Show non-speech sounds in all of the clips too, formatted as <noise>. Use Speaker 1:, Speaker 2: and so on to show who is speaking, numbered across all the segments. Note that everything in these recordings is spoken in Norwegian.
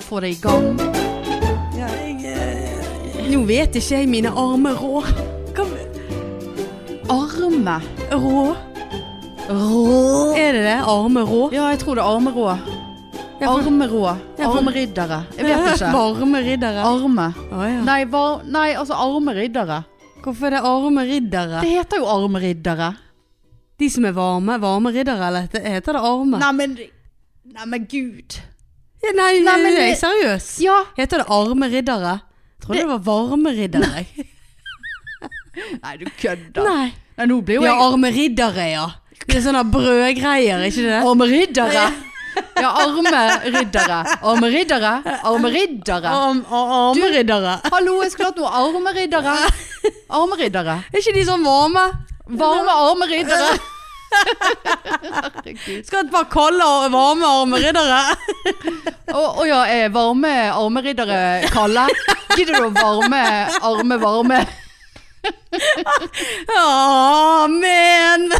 Speaker 1: få det i gang.
Speaker 2: Ja, jeg eh,
Speaker 1: Nå vet ikke jeg mine arme rå.
Speaker 2: Hva
Speaker 1: Arme
Speaker 2: Rå?
Speaker 1: rå. Er det det? Arme rå?
Speaker 3: Ja, jeg tror det er armerå. Armerå.
Speaker 1: for-
Speaker 3: Armeriddere. Jeg vet ikke.
Speaker 1: Varme riddere.
Speaker 3: Arme.
Speaker 2: Å ja.
Speaker 3: Nei, var, nei altså armeriddere.
Speaker 1: Hvorfor er det arme riddere?
Speaker 3: Det heter jo armeriddere.
Speaker 1: De som er varme, varme riddere, eller het- heter det arme?
Speaker 3: Nei, men Nei, men gud.
Speaker 1: Ja, nei,
Speaker 3: Nei, men
Speaker 1: er jeg
Speaker 3: det-
Speaker 1: seriøs.
Speaker 3: Ja.
Speaker 1: Heter det arme riddere? Jeg trodde det, var varme riddere. Nei.
Speaker 3: Nei, du kødder. Nei, nå blir jo
Speaker 1: Ja,
Speaker 3: jeg
Speaker 1: arme riddere, ja. Det er sånne brødgreier, ikke det?
Speaker 3: Armeriddere. <laughs> Ja, armeriddere. Armeriddere. Armeriddere.
Speaker 1: Du riddere.
Speaker 3: Hallo, jeg skulle hatt noe armeriddere. Armeriddere.
Speaker 1: Er ikke de sånn varme?
Speaker 3: Varme armeriddere. Herregud.
Speaker 1: Skal et par kalde og varme arme riddere?
Speaker 3: Å å ja, eh, varme armeriddere, Kalle. Gidder du å varme arme varme?
Speaker 1: <laughs>
Speaker 3: <laughs>
Speaker 1: Amen!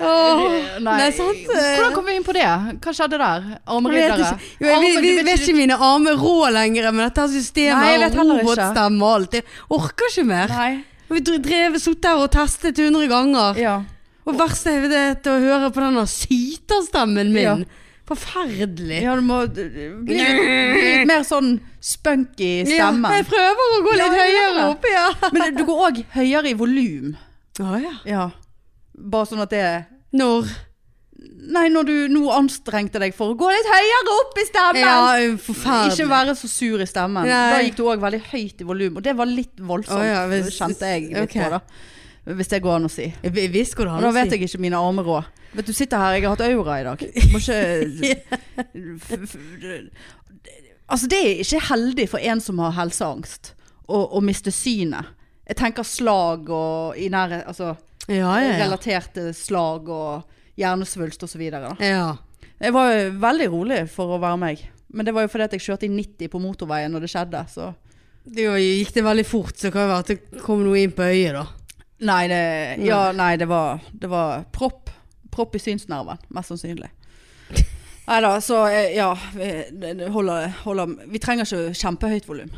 Speaker 1: Åh,
Speaker 3: Nei,
Speaker 1: nei, sant?
Speaker 3: Hvordan kom vi inn på det? Hva skjedde der?
Speaker 1: Jeg vet
Speaker 3: Armeriddere?
Speaker 1: ikke, jo, jeg,
Speaker 3: Arme-
Speaker 1: vi, vi
Speaker 3: du
Speaker 1: vet ikke mine armer rå lenger, men dette her systemet
Speaker 3: Nei, jeg vet
Speaker 1: har
Speaker 3: heller ikke.
Speaker 1: robotstemme og alt. Jeg orker ikke mer.
Speaker 3: Nei.
Speaker 1: Vi dr- drev sittet her og testet 100 ganger.
Speaker 3: Ja.
Speaker 1: Og verst er det til å høre på denne syterstemmen min.
Speaker 3: Ja.
Speaker 1: Forferdelig.
Speaker 3: ja, du må eh, bli litt, litt mer sånn spunky
Speaker 1: Ja,
Speaker 3: stemme.
Speaker 1: jeg prøver å gå litt
Speaker 3: Ja, jeg
Speaker 1: høyere
Speaker 3: gjør
Speaker 1: opp, ja.
Speaker 3: Men du går òg høyere i volum.
Speaker 1: Å, ja.
Speaker 3: Ja. Bare sånn at det
Speaker 1: Når
Speaker 3: Nei, når du nå anstrengte deg for å gå litt høyere opp i stemmen.
Speaker 1: Ja,
Speaker 3: Ikke
Speaker 1: forferdelig.
Speaker 3: være så sur i stemmen.
Speaker 1: Nei.
Speaker 3: Da gikk du òg veldig høyt i volum, og det var litt voldsomt,
Speaker 1: Å ja, hvis-
Speaker 3: kjente jeg litt
Speaker 1: ok.
Speaker 3: på, da. Hvis det går an å si.
Speaker 1: Jeg vi- visste hva det
Speaker 3: Og
Speaker 1: hadde
Speaker 3: da
Speaker 1: å
Speaker 3: vet
Speaker 1: si.
Speaker 3: jeg ikke mine armer òg. Vet du, sitter her, jeg har hatt aura i dag. Må <laughs> ikke f, f, Altså, det er ikke heldig for en som har helseangst, å, å miste synet. Jeg tenker slag og i nære, altså,
Speaker 1: Ja, ja,
Speaker 3: relaterte slag og hjernesvulst og så videre. Da.
Speaker 1: ja. ja.
Speaker 3: Jeg var jo veldig rolig for å være meg. Men det var jo fordi at jeg kjørte i 90 på motorveien når det skjedde. Så.
Speaker 1: Det var- gikk det veldig fort, så kan det være at det kom noe inn på øyet, da.
Speaker 3: Nei, det, ja,
Speaker 1: Mm.
Speaker 3: nei, det var, det var propp. Propp i synsnerven, mest
Speaker 1: <laughs>
Speaker 3: sannsynlig. Nei da, så eh, ja. Vi, det- det holder, holder, vi trenger ikke kjempehøyt volum.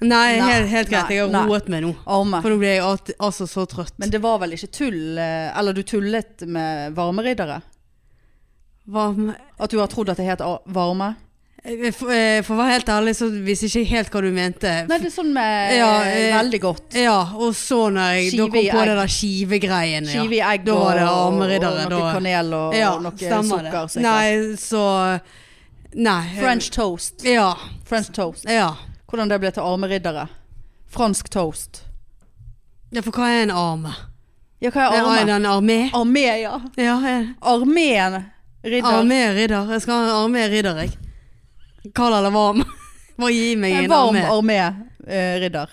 Speaker 1: Nei,
Speaker 3: Nei,
Speaker 1: helt, helt greit.
Speaker 3: nei,
Speaker 1: Jeg
Speaker 3: nei.
Speaker 1: har roet meg nå. For
Speaker 3: Arme.
Speaker 1: nå ble jeg alt, altså så trøtt.
Speaker 3: Men det var vel ikke tull eh, Eller du tullet med varmeriddere?
Speaker 1: Hva-
Speaker 3: At du har trodd at det het a- varme?
Speaker 1: eh, for, eh, for å være helt ærlig, så visste jeg ikke helt hva du mente.
Speaker 3: Nei, det er sånn <laughs> med
Speaker 1: Ja, eh,
Speaker 3: Veldig godt.
Speaker 1: Ja, og så når jeg da
Speaker 3: Skive
Speaker 1: kom
Speaker 3: i
Speaker 1: på
Speaker 3: egg.
Speaker 1: det der skivegreiene.
Speaker 3: Skive i egg
Speaker 1: Da
Speaker 3: og,
Speaker 1: var det
Speaker 3: og
Speaker 1: armeriddere,
Speaker 3: noe
Speaker 1: da-
Speaker 3: kanel og,
Speaker 1: ja,
Speaker 3: og noe
Speaker 1: stemmer
Speaker 3: sukker.
Speaker 1: det.
Speaker 3: sikkert.
Speaker 1: Nei, så Nei. eh,
Speaker 3: French toast.
Speaker 1: Ja.
Speaker 3: French toast.
Speaker 1: ja.
Speaker 3: Hvordan det ble til armeriddere. Fransk toast.
Speaker 1: Ja, for hva er en arme?
Speaker 3: Ja, hva er
Speaker 1: Er
Speaker 3: arme?
Speaker 1: det en armé?
Speaker 3: Armé, ja.
Speaker 1: Ja, jeg-
Speaker 3: Armeen ridder.
Speaker 1: armé ridder. Jeg skal ha en armé ridder, jeg. Kald eller varm. <laughs> Bare gi meg
Speaker 3: En
Speaker 1: en
Speaker 3: varm
Speaker 1: armé.
Speaker 3: armé eh, ridder.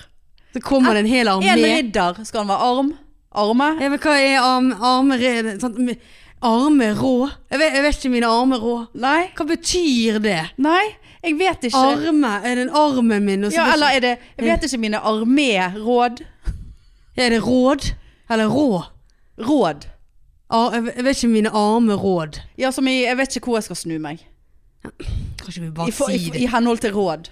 Speaker 1: Så kommer det en hel armé.
Speaker 3: En ridder skal han være arm. Arme.
Speaker 1: Jeg vet hva er arm, arme red- sånn, med- Arme rå? Jeg vet, jeg vet ikke mine arme rå.
Speaker 3: Nei.
Speaker 1: Hva betyr det?
Speaker 3: Nei, jeg vet ikke.
Speaker 1: Arme? Er den armen min? og så
Speaker 3: ja,
Speaker 1: betyr-
Speaker 3: eller er det Jeg vet ikke mine arméråd.
Speaker 1: er det råd? Eller rå?
Speaker 3: Råd.
Speaker 1: Ar, jeg vet- jeg vet ikke mine arme råd.
Speaker 3: Ja, som i Jeg vet ikke hvor jeg skal snu meg.
Speaker 1: Kan ikke vi bare
Speaker 3: I, for, i,
Speaker 1: si
Speaker 3: I
Speaker 1: det?
Speaker 3: henhold til råd.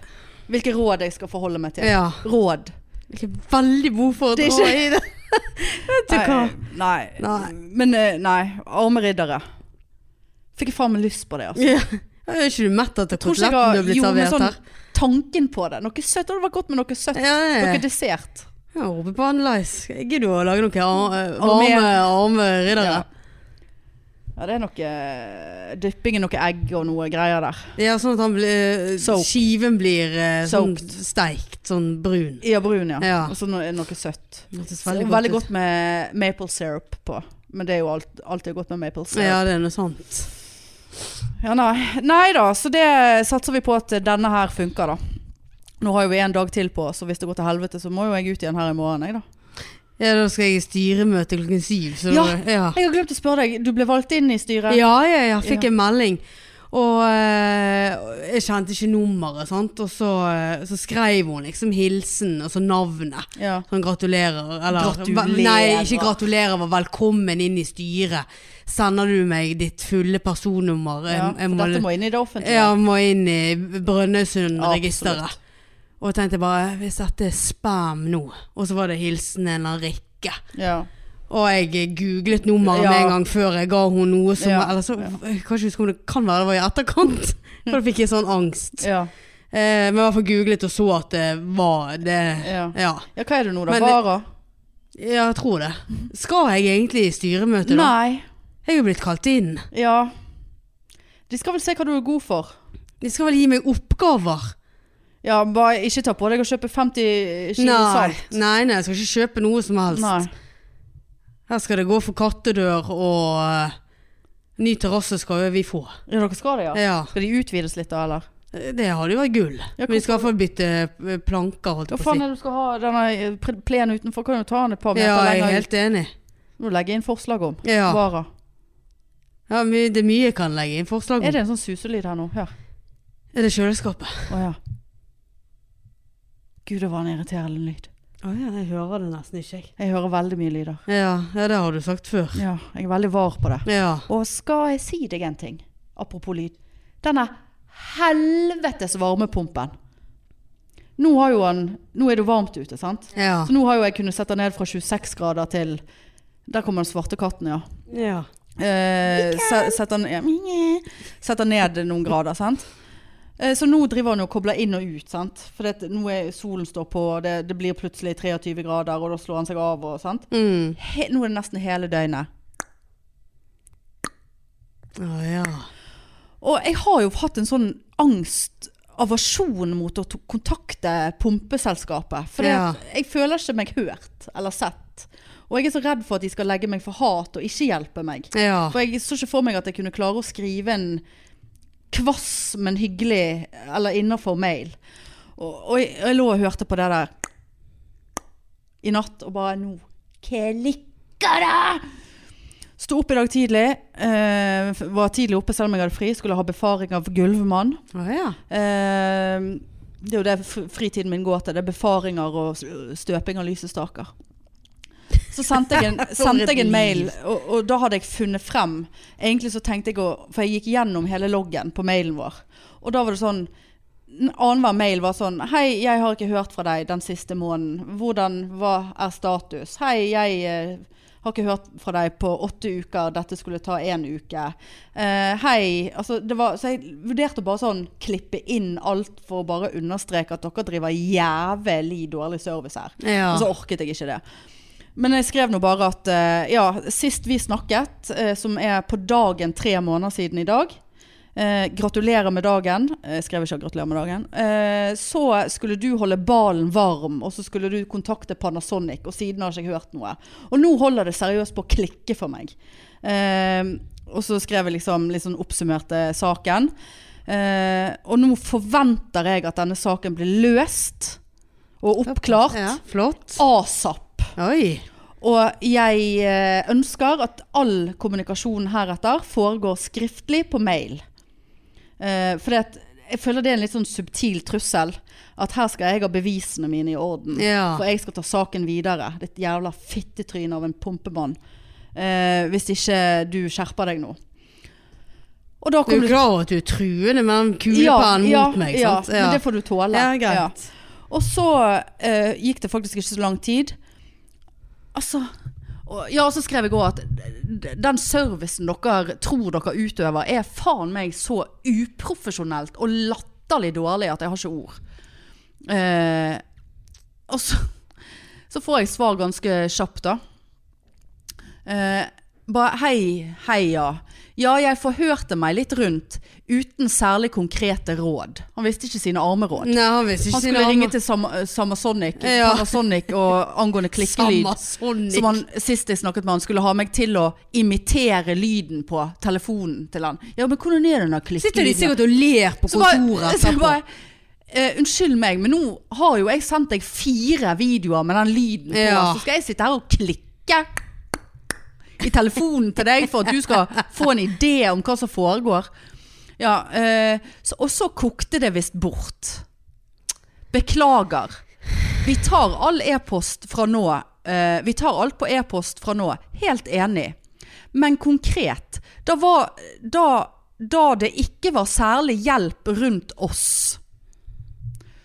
Speaker 3: Hvilke råd jeg skal forholde meg til.
Speaker 1: Ja.
Speaker 3: Råd.
Speaker 1: Jeg er veldig god for å
Speaker 3: Det er
Speaker 1: dra i det. <laughs> Vet du hva?
Speaker 3: Nei.
Speaker 1: Nei.
Speaker 3: Men eh, nei, armeriddere. Fikk jeg faen meg lyst på det, altså.
Speaker 1: Ja. Er ikke du mett etter
Speaker 3: Tror ikke jeg
Speaker 1: koteletten du har
Speaker 3: har
Speaker 1: blitt
Speaker 3: jo, men
Speaker 1: servert
Speaker 3: sånn
Speaker 1: her?
Speaker 3: tanken på det. Noe søtt. Og det var godt med noe søtt.
Speaker 1: Ja, ja,
Speaker 3: Noe
Speaker 1: ja.
Speaker 3: dessert.
Speaker 1: Ja, Rope på Anne-Leis. Gidder du å lage noen ar- eh,
Speaker 3: Arme.
Speaker 1: varme, arme riddere?
Speaker 3: Ja, det er noe eh, dypping i noe egg og noe greier der.
Speaker 1: Ja, sånn at han blir,
Speaker 3: Soaked.
Speaker 1: skiven blir eh, sånn
Speaker 3: Soaked.
Speaker 1: steikt, sånn brun.
Speaker 3: Ja, brun, ja.
Speaker 1: Ja.
Speaker 3: Og så noe, noe søtt.
Speaker 1: Det ser
Speaker 3: Veldig,
Speaker 1: ut.
Speaker 3: veldig godt med maple syrup på. Men det er jo alt, alltid godt med maple syrup.
Speaker 1: Ja, det er noe sånt.
Speaker 3: Ja, nei. nei da, så det satser vi på at denne her funker, da. Nå har jo vi en dag til på oss, og hvis det går til helvete, så må jo jeg ut igjen her i morgen. Jeg, da.
Speaker 1: Ja, da skal jeg i styremøte klokken syv. Så
Speaker 3: Ja.
Speaker 1: Da, ja.
Speaker 3: jeg har glemt å spørre deg, du ble valgt inn i styret.
Speaker 1: ja, ja, ja. Fikk en melding. Og eh, jeg kjente ikke nummeret, sant? og så, eh, så skrev hun liksom hilsen og så navnet.
Speaker 3: Ja.
Speaker 1: Sånn gratulerer, eller
Speaker 3: Gratulerer.
Speaker 1: Nei, ikke gratulerer, var velkommen inn i styret. Sender du meg ditt fulle personnummer? Jeg-
Speaker 3: ja.
Speaker 1: jeg
Speaker 3: For dette må inn i det offentlige.
Speaker 1: ja, må inn i Brønnøysundregisteret.
Speaker 3: Absolutt.
Speaker 1: Og tenkte bare Hvis dette er spam nå Og så var det hilsen en eller annen Rikke.
Speaker 3: Ja.
Speaker 1: Og jeg googlet nummeret
Speaker 3: Ja.
Speaker 1: med en gang før jeg ga henne noe som
Speaker 3: Ja,
Speaker 1: Eller så
Speaker 3: ja.
Speaker 1: Jeg kan ikke huske om det kan være det var i etterkant. <laughs> For da fikk jeg sånn angst.
Speaker 3: Ja.
Speaker 1: Eh, men i hvert fall googlet og så at det var det.
Speaker 3: Ja.
Speaker 1: Ja.
Speaker 3: ja, hva er det nå da?
Speaker 1: Men-
Speaker 3: Vara?
Speaker 1: Ja, jeg tror det. Skal jeg egentlig i styremøte, da?
Speaker 3: Nei.
Speaker 1: Jeg er jo blitt kalt inn.
Speaker 3: Ja. De skal vel se hva du er god for.
Speaker 1: De skal vel gi meg oppgaver.
Speaker 3: Ja, bare ikke ta på deg å kjøpe 50 kilo
Speaker 1: Nei,
Speaker 3: salt.
Speaker 1: nei, nei, jeg skal ikke kjøpe noe som helst.
Speaker 3: Nei.
Speaker 1: Her skal det gå for kattedør, og eh, ny terrasse skal jo vi få.
Speaker 3: Ja, dere skal det, ja?
Speaker 1: Ja.
Speaker 3: Skal de utvides litt da, eller?
Speaker 1: Det hadde jo vært gull.
Speaker 3: Ja,
Speaker 1: Men vi skal i hvert fall bytte eh, planker, holdt
Speaker 3: Hva
Speaker 1: jeg på å
Speaker 3: faen
Speaker 1: si.
Speaker 3: er det du skal ha denne eh, pre- plenen utenfor? Kan jo ta den et par meter
Speaker 1: Ja, jeg er
Speaker 3: lenger.
Speaker 1: helt enig.
Speaker 3: Nå legger jeg inn forslag om.
Speaker 1: Ja.
Speaker 3: Vara.
Speaker 1: Ja, men det er mye jeg kan legge inn forslag
Speaker 3: Er
Speaker 1: om.
Speaker 3: det en sånn suselyd her nå? Hør.
Speaker 1: Er det kjøleskapet?
Speaker 3: Å ja. Gud, det var en irriterende lyd.
Speaker 1: Å ja, jeg hører det nesten ikke, jeg.
Speaker 3: Jeg hører veldig mye lyder.
Speaker 1: Ja, ja, det har du sagt før.
Speaker 3: Ja, jeg er veldig var på det.
Speaker 1: Ja.
Speaker 3: Og skal jeg si deg en ting? Apropos lyd. Denne helvetes varmepumpen. Nå, har jo han, nå er det jo varmt ute, sant?
Speaker 1: Ja.
Speaker 3: Så nå har jo jeg kunnet sette den ned fra 26 grader til Der kommer den svarte katten, ja.
Speaker 1: ja.
Speaker 3: Eh, se- setter, den- ja, mjau. setter ned noen grader, sant? Eh, Så nå driver han og kobler inn og ut, sant? For det, nå er solen står på, og det, det blir plutselig 23 grader, og da slår han seg av og sant?
Speaker 1: Mm.
Speaker 3: He, nå er det nesten hele døgnet.
Speaker 1: Å ja.
Speaker 3: Og jeg har jo hatt en sånn angst, aversjon mot å to- kontakte pumpeselskapet. For
Speaker 1: Ja.
Speaker 3: jeg føler ikke meg hørt eller sett. Og jeg er så redd for at de skal legge meg for hat og ikke hjelpe meg.
Speaker 1: Ja.
Speaker 3: For jeg så ikke for meg at jeg kunne klare å skrive en kvass, men hyggelig, eller innafor mail. Og, og jeg, jeg lå og hørte på det der i natt, og bare nå klikker det! Sto opp i dag tidlig. eh, f- var tidlig oppe selv om jeg hadde fri. Skulle ha befaring av gulvmann.
Speaker 1: Å ja.
Speaker 3: Eh, det er jo det fr- fritiden min går til. Det er befaringer og s- støping av lysestaker. Så sendte jeg en, sendte jeg en mail, og, og da hadde jeg funnet frem. Egentlig så tenkte jeg å For jeg gikk gjennom hele loggen på mailen vår. Og da var det sånn n- Annenhver mail var sånn Hei, jeg har ikke hørt fra deg den siste måneden. Hvordan, hva er status? Hei, jeg eh, har ikke hørt fra deg på åtte uker. Dette skulle ta én uke. Eh, hei. Altså, det var Så jeg vurderte å bare sånn klippe inn alt for å bare understreke at dere driver jævlig dårlig service her.
Speaker 1: Ja.
Speaker 3: Og så orket jeg ikke det. Men jeg skrev nå bare at eh, ja, sist vi snakket, eh, som er på dagen tre måneder siden i dag eh, Gratulerer med dagen. Eh, Jeg skrev ikke 'gratulerer med dagen'. Eh, så skulle du holde ballen varm, og så skulle du kontakte Panasonic, og siden har ikke jeg hørt noe. Og nå holder det seriøst på å klikke for meg. Eh, og så skrev jeg liksom litt sånn oppsummerte saken. Eh, og nå forventer jeg at denne saken blir løst og oppklart.
Speaker 1: Ja, flott.
Speaker 3: ASAP.
Speaker 1: Oi.
Speaker 3: Og jeg eh, ønsker at all kommunikasjon heretter foregår skriftlig på mail. Eh, For jeg føler det er en litt sånn subtil trussel. At her skal jeg ha bevisene mine i orden.
Speaker 1: Ja.
Speaker 3: For jeg skal ta saken videre. Ditt jævla fittetryne av en pumpemann. Eh, hvis ikke du skjerper deg nå. Og da
Speaker 1: Du
Speaker 3: kom
Speaker 1: er
Speaker 3: det-
Speaker 1: klar over at du er truende med den kulepennen
Speaker 3: ja,
Speaker 1: mot meg,
Speaker 3: ja,
Speaker 1: sant?
Speaker 3: men det får du tåle.
Speaker 1: Ja, greit.
Speaker 3: Og så eh, gikk det faktisk ikke så lang tid. Altså og, Ja, og så skrev jeg òg at d- den servicen dere tror dere utøver, er faen meg så uprofesjonelt og latterlig dårlig at jeg har ikke ord. Eh, og så, så får jeg svar ganske kjapt, da. Eh, bare hei, heia. Ja, jeg forhørte meg litt rundt uten særlig konkrete råd. Han visste ikke sine armeråd.
Speaker 1: Nei, han visste ikke
Speaker 3: Han skulle ringe til Sam <laughs> Samasonic,
Speaker 1: Ja.
Speaker 3: Panasonic og angående klikkelyd.
Speaker 1: Samasonic.
Speaker 3: Som han sist jeg snakket med han skulle ha meg til å imitere lyden på telefonen til han. Ja, men hvordan er den der
Speaker 1: Sitter de
Speaker 3: klikkelyden?
Speaker 1: sikkert og ler på
Speaker 3: Så bare- <laughs> så
Speaker 1: kontoret
Speaker 3: jeg
Speaker 1: etterpå?
Speaker 3: bare, eh, unnskyld meg, men nå har jo jeg sendt deg fire videoer med den lyden på.
Speaker 1: Ja.
Speaker 3: Så skal jeg sitte her og klikke i telefonen til deg for at du skal få en idé om hva som foregår. Ja, Ja, eh, så, og så kokte det visst bort. Beklager. Vi tar all e-post fra nå. eh, vi tar alt på e-post fra nå. Helt enig. Men konkret, da, var, da, da det ikke var særlig hjelp rundt oss,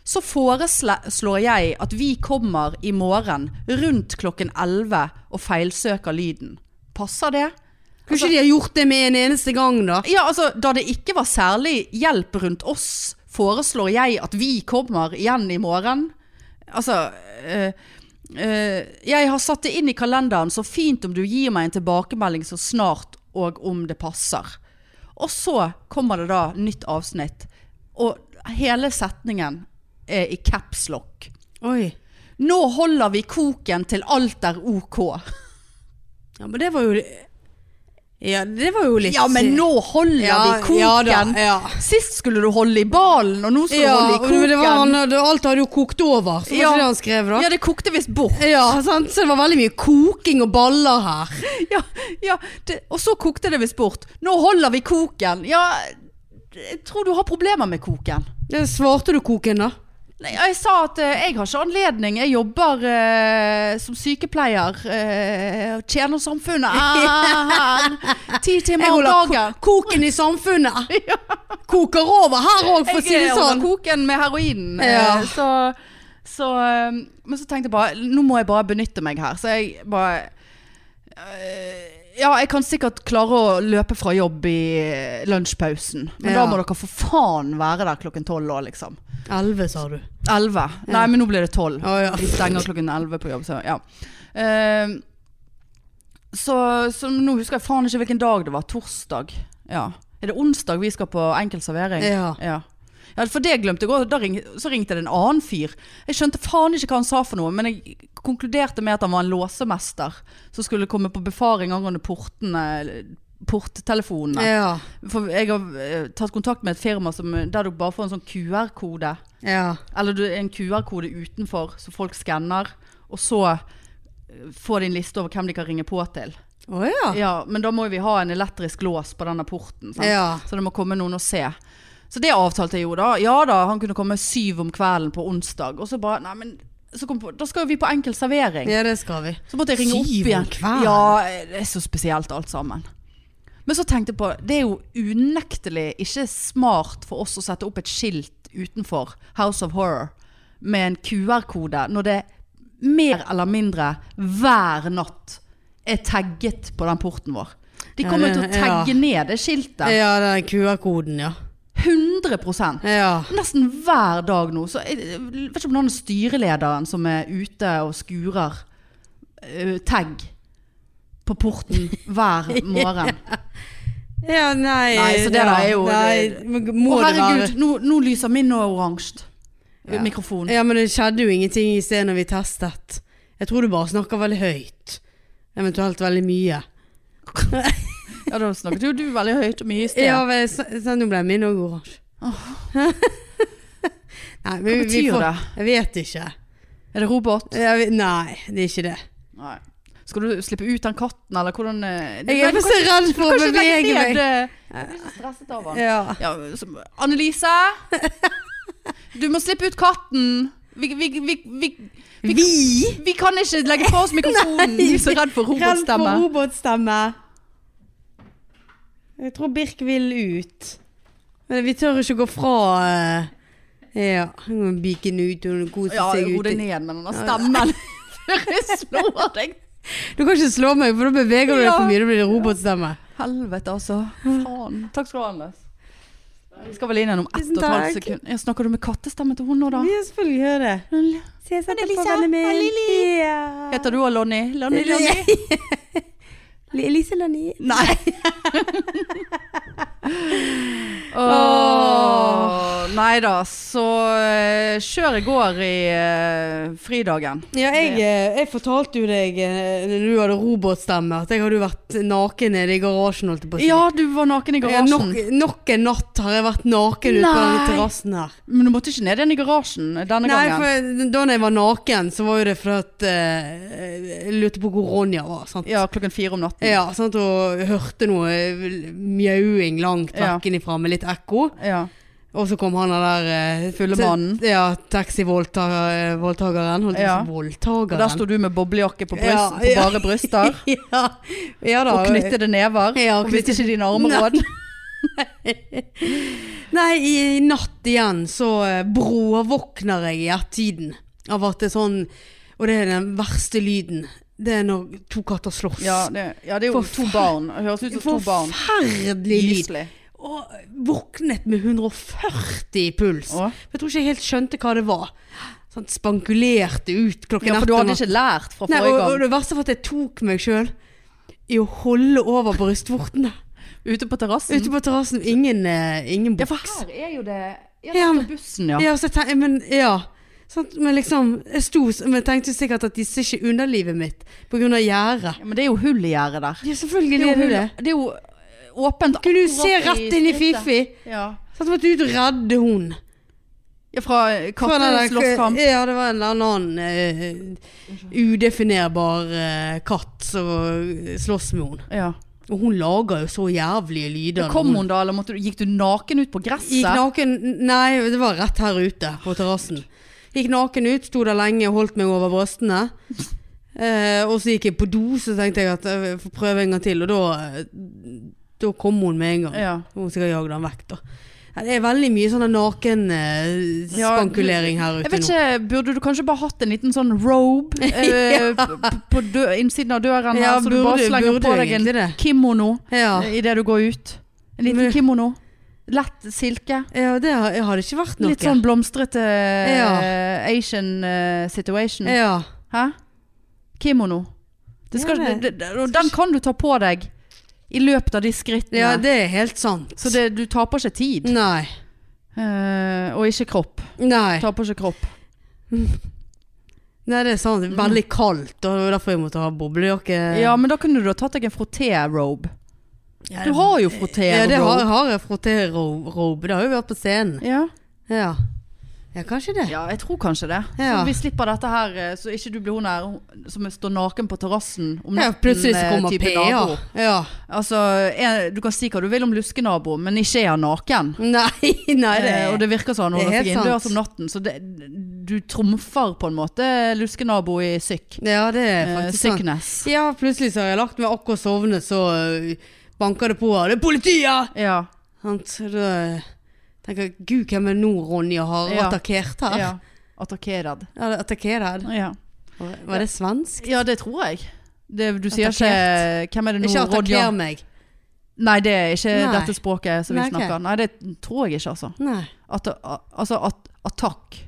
Speaker 3: så foreslår jeg at vi kommer i morgen rundt klokken 11 og feilsøker lyden. Passer det?
Speaker 1: Kanskje de har gjort det med en eneste gang, da?
Speaker 3: Ja, altså, da det ikke var særlig hjelp rundt oss, foreslår jeg at vi kommer igjen i morgen. Altså eh, eh, Jeg har satt det inn i kalenderen, så fint om du gir meg en tilbakemelding så snart og om det passer. Og så kommer det da nytt avsnitt, og hele setningen er i capslock.
Speaker 1: Oi.
Speaker 3: Nå holder vi koken til alt er ok.
Speaker 1: Ja, men det var jo Ja, det var jo litt
Speaker 3: Ja, men nå holder vi koken!
Speaker 1: Ja da. Ja.
Speaker 3: Sist skulle du holde i ballen, og nå skal
Speaker 1: Ja,
Speaker 3: du holde i
Speaker 1: og
Speaker 3: koken.
Speaker 1: det var han, det- alt hadde jo kokt over, så var
Speaker 3: Ja.
Speaker 1: ikke det han skrev da?
Speaker 3: Ja, det kokte visst
Speaker 1: <laughs>
Speaker 3: bort.
Speaker 1: Ja, sant? Så det var veldig mye koking og baller her.
Speaker 3: Ja, ja, det, og så kokte det visst bort. Nå holder vi koken. Ja, jeg tror du har problemer med koken.
Speaker 1: Det svarte du koken, da?
Speaker 3: Nei, jeg sa at eh, jeg har ikke anledning. Jeg jobber eh, som sykepleier. Eh, og tjener samfunnet.
Speaker 1: <laughs>
Speaker 3: Ah, Ti timer om
Speaker 1: holder
Speaker 3: dagen.
Speaker 1: ko- koken i
Speaker 3: <laughs>
Speaker 1: samfunnet. Koker over her òg, for å si det
Speaker 3: Jeg holder
Speaker 1: sånn.
Speaker 3: koken med heroinen. eh,
Speaker 1: Ja.
Speaker 3: Så, så, eh, men så tenkte jeg bare Nå må jeg bare benytte meg her. Så jeg bare eh, Ja, jeg kan sikkert klare å løpe fra jobb i eh, lunsjpausen. Men da
Speaker 1: Ja.
Speaker 3: må dere for faen være der klokken tolv òg, liksom.
Speaker 1: Elleve, sa du.
Speaker 3: Elleve. Nei, men nå blir det tolv.
Speaker 1: Å ja.
Speaker 3: De stenger klokken 11 på jobb, så ja. Eh, så, så nå husker jeg faen ikke hvilken dag det var. Torsdag. Ja. Er det onsdag vi skal på enkel servering?
Speaker 1: Ja.
Speaker 3: ja. Ja, for det glemte jeg òg. Ring, så ringte det en annen fyr. Jeg skjønte faen ikke hva han sa for noe, men jeg konkluderte med at han var en låsemester som skulle komme på befaring angående portene, porttelefonene.
Speaker 1: Ja.
Speaker 3: For jeg har eh, tatt kontakt med et firma som, der du bare får en sånn QR-kode.
Speaker 1: ja.
Speaker 3: Eller du, en QR-kode utenfor, så folk skanner. Og så eh, får de en liste over hvem de kan ringe på til.
Speaker 1: Å ja.
Speaker 3: Ja, men da må vi ha en elektrisk lås på denne porten. Sant?
Speaker 1: Ja.
Speaker 3: Så det må komme noen og se. Så det avtalte jeg jo da. Ja da, han kunne komme syv om kvelden på onsdag. Og så bare, nei men så kom jeg på, Da skal jo vi på enkel servering.
Speaker 1: Ja, det skal vi.
Speaker 3: Så måtte jeg ringe opp
Speaker 1: Syv om
Speaker 3: igjen.
Speaker 1: kvelden?
Speaker 3: Ja, det er så spesielt alt sammen. Men så tenkte jeg på, det er jo unektelig ikke smart for oss å sette opp et skilt utenfor House of Horror med en QR-kode, når det mer eller mindre hver natt er tagget på den porten vår. De
Speaker 1: Ja,
Speaker 3: kommer
Speaker 1: det-
Speaker 3: til å tagge
Speaker 1: ja.
Speaker 3: ned det skiltet.
Speaker 1: Ja, den QR-koden, ja.
Speaker 3: 100
Speaker 1: Ja.
Speaker 3: Nesten hver dag nå. Så jeg, jeg vet ikke om det er han styrelederen som er ute og skurer eh, tagg på porten <laughs> hver morgen.
Speaker 1: Ja, nei
Speaker 3: Nei, så det
Speaker 1: ja,
Speaker 3: da er jo-
Speaker 1: nei, men Må
Speaker 3: Å
Speaker 1: det være
Speaker 3: herregud, nå, nå lyser min nå oransje
Speaker 1: Ja.
Speaker 3: mikrofon.
Speaker 1: Ja, men det skjedde jo ingenting i sted når vi testet. Jeg tror du bare snakker veldig høyt. Eventuelt veldig mye.
Speaker 3: <laughs> Ja, da snakket jo du veldig høyt og mye i sted.
Speaker 1: Ja, men jeg sn- sånn, nå ble min òg oransje. <laughs> nei, men
Speaker 3: Hva
Speaker 1: vi- vi
Speaker 3: betyr
Speaker 1: får,
Speaker 3: det?
Speaker 1: Jeg vet ikke.
Speaker 3: Er det robot?
Speaker 1: Jeg, vet- nei, det er ikke det.
Speaker 3: Nei. Skal du slippe ut den katten, eller hvordan eh,
Speaker 1: Jeg er
Speaker 3: du kan-
Speaker 1: bare så redd for
Speaker 3: du kan
Speaker 1: å
Speaker 3: ikke legge ned,
Speaker 1: bevege
Speaker 3: eh,
Speaker 1: meg.
Speaker 3: Jeg blir så stresset av han.
Speaker 1: Ja.
Speaker 3: Ja, så- Annelise! Du må slippe ut katten! Vi, vi, vi, vi, vi, vi kan ikke legge fra oss mikrofonen!
Speaker 1: Nei.
Speaker 3: Vi er så redd for
Speaker 1: Redd for
Speaker 3: robotstemme.
Speaker 1: robotstemme. Jeg tror Birk vil ut. Men vi tør ikke gå fra eh, Ja. Hun må bike den ut og kose
Speaker 3: Ja,
Speaker 1: seg
Speaker 3: hodet
Speaker 1: ute.
Speaker 3: ned med denne stemmen. <laughs> Før jeg slår deg.
Speaker 1: Du kan ikke slå meg, for da beveger du deg
Speaker 3: Ja.
Speaker 1: for mye. Da blir det robotstemme.
Speaker 3: Helvete, altså. Faen. Takk skal du ha, Anders. Vi skal vel inn igjen om ett
Speaker 1: Tusen
Speaker 3: og et halvt
Speaker 1: takk.
Speaker 3: sekund. Ja, snakker du med kattestemme til hun nå, da?
Speaker 1: Vi selvfølgelig gjør det. Ses etterpå,
Speaker 3: Lisa.
Speaker 1: vennen min.
Speaker 3: Ha, Lili. Heter du òg Lonny? Lonny, Lonny?
Speaker 1: <laughs> Elise Lani.
Speaker 3: Nei. <laughs> Åh, Nei da, så eh, kjør i går i eh, fridagen.
Speaker 1: Ja, jeg, eh, jeg fortalte jo deg eh, når du hadde robotstemme, at jeg hadde jo vært naken nede i garasjen. Holdt jeg på å si.
Speaker 3: Ja, du var naken i
Speaker 1: Ja, nok,
Speaker 3: garasjen.
Speaker 1: nok en natt har jeg vært naken ute på denne
Speaker 3: Nei.
Speaker 1: terrassen her.
Speaker 3: Men du måtte ikke ned igjen i garasjen denne
Speaker 1: Nei,
Speaker 3: gangen.
Speaker 1: for da jeg var naken, så var jo det fordi at eh, Jeg lurte på hvor Ronja var. Sant?
Speaker 3: Ja, klokken fire om natten.
Speaker 1: Ja, sant, og hørte noe mjauing lang langt
Speaker 3: Ja.
Speaker 1: vekk innifra med litt ekko.
Speaker 3: Ja.
Speaker 1: Og så kom han der eh,
Speaker 3: Fulle
Speaker 1: te-
Speaker 3: mannen.
Speaker 1: Ja, taxivoldtageren. Holdt
Speaker 3: Ja.
Speaker 1: ja.
Speaker 3: Og der
Speaker 1: Voldtageren.
Speaker 3: sto du med boblejakke på, bryst,
Speaker 1: Ja,
Speaker 3: på
Speaker 1: ja.
Speaker 3: bare bryster.
Speaker 1: <laughs> ja. <laughs> ja
Speaker 3: <laughs>
Speaker 1: da.
Speaker 3: Og knyttede never.
Speaker 1: Ja,
Speaker 3: og sånn. visste
Speaker 1: knyttede-
Speaker 3: ikke dine armråd.
Speaker 1: <laughs> Nei, i, i natt igjen så eh, bråvåkner jeg i ett-tiden av at det er sånn Og det er den verste lyden. Det er når to katter slåss.
Speaker 3: Ja, det, ja, det er jo
Speaker 1: Forfer-
Speaker 3: to barn. Det høres ut som to barn.
Speaker 1: Forferdelig lyd.
Speaker 3: Gyselig.
Speaker 1: Og våknet med 140 i puls.
Speaker 3: Å.
Speaker 1: Jeg tror ikke jeg helt skjønte hva det var. Sånn, spankulerte ut klokken
Speaker 3: Ja, for du
Speaker 1: ett om
Speaker 3: hadde
Speaker 1: natten.
Speaker 3: ikke lært fra
Speaker 1: Nei, og,
Speaker 3: forrige
Speaker 1: og
Speaker 3: gang.
Speaker 1: det verste var at jeg tok meg sjøl i å holde over brystvortene.
Speaker 3: Ute på terrassen.
Speaker 1: Ute på terrassen. Ingen, eh, ingen
Speaker 3: Mm. Ja, for
Speaker 1: boks.
Speaker 3: her er jo det Ja,
Speaker 1: Ja, men-
Speaker 3: på bussen, ja.
Speaker 1: Ja, så jeg tenk- men ja. Sant? Men liksom, jeg sto s- Men jeg tenkte sikkert at de ser ikke underlivet mitt pga. gjerdet.
Speaker 3: Ja, Men det er jo hull i gjerdet der.
Speaker 1: Ja,
Speaker 3: Det
Speaker 1: selvfølgelig
Speaker 3: er
Speaker 1: er
Speaker 3: jo,
Speaker 1: det
Speaker 3: hull,
Speaker 1: det.
Speaker 3: det er jo eh, åpent
Speaker 1: Kunne du
Speaker 3: akkurat
Speaker 1: se rett inn i
Speaker 3: snittet.
Speaker 1: Fifi?
Speaker 3: Ja.
Speaker 1: Så jeg måtte ut og redde hun.
Speaker 3: ja, fra
Speaker 1: Fra den der-
Speaker 3: katteslåsskamp.
Speaker 1: Ja, det var en eller annen eh, udefinerbar eh, katt som eh, slåss med hun.
Speaker 3: Ja.
Speaker 1: Og hun lager jo så jævlige lyder. når
Speaker 3: Kom hun da, eller måtte du, gikk du naken ut på
Speaker 1: Gikk
Speaker 3: gresset?
Speaker 1: naken Nei, det var rett her ute på terrassen. Gikk naken ut, sto der lenge og holdt meg over brystene. Eh, og så gikk jeg på do, så tenkte jeg at eh, jeg får prøve en gang til. Og da, da kom hun med en gang.
Speaker 3: Ja.
Speaker 1: Hun sikkert jagde han vekk, da. Ja, Det er veldig mye sånn
Speaker 3: Ja,
Speaker 1: nakenspankulering her
Speaker 3: Jeg
Speaker 1: ute
Speaker 3: vet
Speaker 1: nå.
Speaker 3: ikke, Burde du kanskje bare hatt en liten sånn robe <laughs> eh, p- på dø innsiden av døren? her,
Speaker 1: Ja,
Speaker 3: så du bare
Speaker 1: burde-
Speaker 3: slenger
Speaker 1: burde
Speaker 3: på deg en
Speaker 1: egentlig det.
Speaker 3: kimono
Speaker 1: Ja.
Speaker 3: eh, idet du går ut. En liten
Speaker 1: Men-
Speaker 3: kimono. Lett silke.
Speaker 1: ja, det har, jeg hadde ikke vært noe.
Speaker 3: Litt sånn blomstrete eh, Asian eh, situation.
Speaker 1: ja.
Speaker 3: Hæ? Kimono. Det skal,
Speaker 1: Ja,
Speaker 3: det,
Speaker 1: det-
Speaker 3: det, og den kan du ta på deg i løpet av de skrittene.
Speaker 1: ja, det er helt sant.
Speaker 3: så det, du taper ikke tid.
Speaker 1: Nei.
Speaker 3: Eh, og ikke kropp.
Speaker 1: Nei.
Speaker 3: Taper ikke kropp.
Speaker 1: Nei, det er sant. Det er Veldig kaldt, og det var derfor jeg måtte ha boblejakke.
Speaker 3: Mm. Ja, men da kunne du ha tatt deg en frotté-robe.
Speaker 1: Ja, eh,
Speaker 3: Du har jo frotté-robe.
Speaker 1: Ja, det har, har jeg frottérobe. Det har jo vært på scenen.
Speaker 3: Ja.
Speaker 1: Ja, ja kanskje det.
Speaker 3: ja, jeg tror kanskje det.
Speaker 1: Ja.
Speaker 3: Så vi slipper dette her, eh, så ikke du blir hun der hun- som står naken på terrassen om
Speaker 1: Ja,
Speaker 3: natten.
Speaker 1: plutselig så
Speaker 3: eh,
Speaker 1: kommer
Speaker 3: type
Speaker 1: PA.
Speaker 3: nabo.
Speaker 1: Ja. <laughs>
Speaker 3: Altså, eh, du kan si hva du vil om luskenabo, men ikke er han naken.
Speaker 1: Nei, nei, det
Speaker 3: Eh, og det virker sånn når
Speaker 1: det er
Speaker 3: han holder
Speaker 1: helt
Speaker 3: seg innendørs
Speaker 1: sant.
Speaker 3: om natten, så det, du trumfer på en måte luskenabo i syk.
Speaker 1: Ja, det er
Speaker 3: Eh,
Speaker 1: faktisk sant.
Speaker 3: Sickness.
Speaker 1: Ja, plutselig så har jeg lagt meg akkurat sovnet, så ø, banker det på. og Det er politiet!
Speaker 3: Ja.
Speaker 1: Sant, så da eh, tenker jeg, gud, hvem er det nå Ronja har
Speaker 3: Ja.
Speaker 1: attakkert her? Ja.
Speaker 3: ja. Attakkerad.
Speaker 1: Attakkert?
Speaker 3: Ja.
Speaker 1: Var det svensk?
Speaker 3: ja, det tror jeg. Det, du sier
Speaker 1: Attakkert.
Speaker 3: ikke Hvem er det nå?
Speaker 1: Ikke
Speaker 3: Rodja?
Speaker 1: attakker meg.
Speaker 3: Nei, det er ikke
Speaker 1: Nei.
Speaker 3: dette språket som vi
Speaker 1: Nei, ok.
Speaker 3: snakker. Nei, det tror jeg ikke, altså.
Speaker 1: Nei.
Speaker 3: At, a- altså at, attakk.